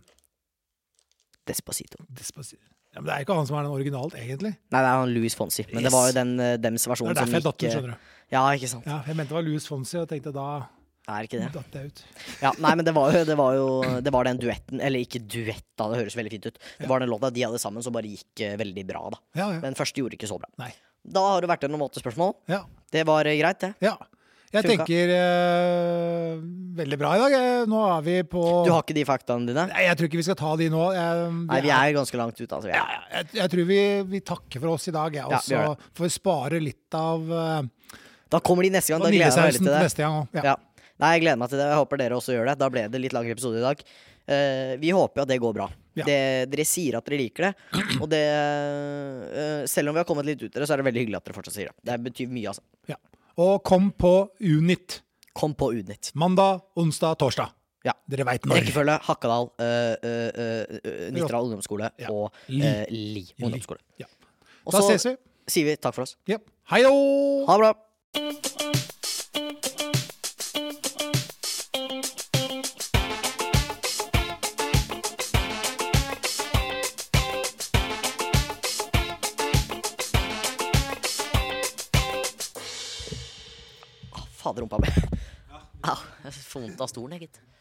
Despacito.
Despacito. ja. Men det er ikke han som er den originalt, egentlig.
Nei, det er han Louis Fonsi, men det
Yes.
var jo den, eh, dems
Det
versjon
er derfor jeg datt ut,
som gikk eh,
skjønner du.
Ja, ikke sant.
Ja, jeg mente det var Louis Fonsi, og tenkte da
Det er ikke det.
datt jeg ut.
Ja, nei, men det var jo Det var, jo, det var den duetten Eller ikke duett, da, det høres veldig fint ut. Det var den låta de hadde sammen som bare gikk eh, veldig bra, da.
Ja, ja.
Den første gjorde ikke så bra.
Nei.
Da har det vært gjennom åtte spørsmål.
Ja.
Det var eh, greit, det.
ja. Jeg
Funka.
tenker eh, veldig bra i dag. Eh, Nå er vi på
Du har ikke de faktaene dine?
Nei, jeg tror ikke vi skal ta de nå. Jeg,
Nei, vi er ganske langt ute, altså. Vi
ja,
er.
ja, jeg, jeg tror vi, vi takker for oss i dag,
Ja,
jeg. Og
vi
så
gjør
får vi spare litt av eh,
Da kommer de neste gang. Da gleder jeg meg veldig
vaniljesausen
til
til
det.
neste gang òg. Ja.
Ja. Nei, jeg gleder meg til det. Jeg håper dere også gjør det. Da ble det litt langere episode i dag. Eh, vi håper jo at det går bra.
Ja.
Det, dere sier at dere liker det, og det eh, Selv om vi har kommet litt ut i det, så er det veldig hyggelig at dere fortsatt sier det. Det betyr mye, altså.
Ja. Og kom på Unit.
Kom på Unit.
Mandag, onsdag, torsdag.
Ja.
Dere veit når.
Rekkefølge Hakadal, eh, eh, eh, eh, Nittedal ungdomsskole
Ja.
og
Li.
eh, Li ungdomsskole.
Ja.
Og
Da
så
ses vi.
sier vi takk for oss.
Ja. Hei då!
Ha det bra! Å, Fader, rumpa mi. Au. Jeg får vondt av stolen, jeg, gitt.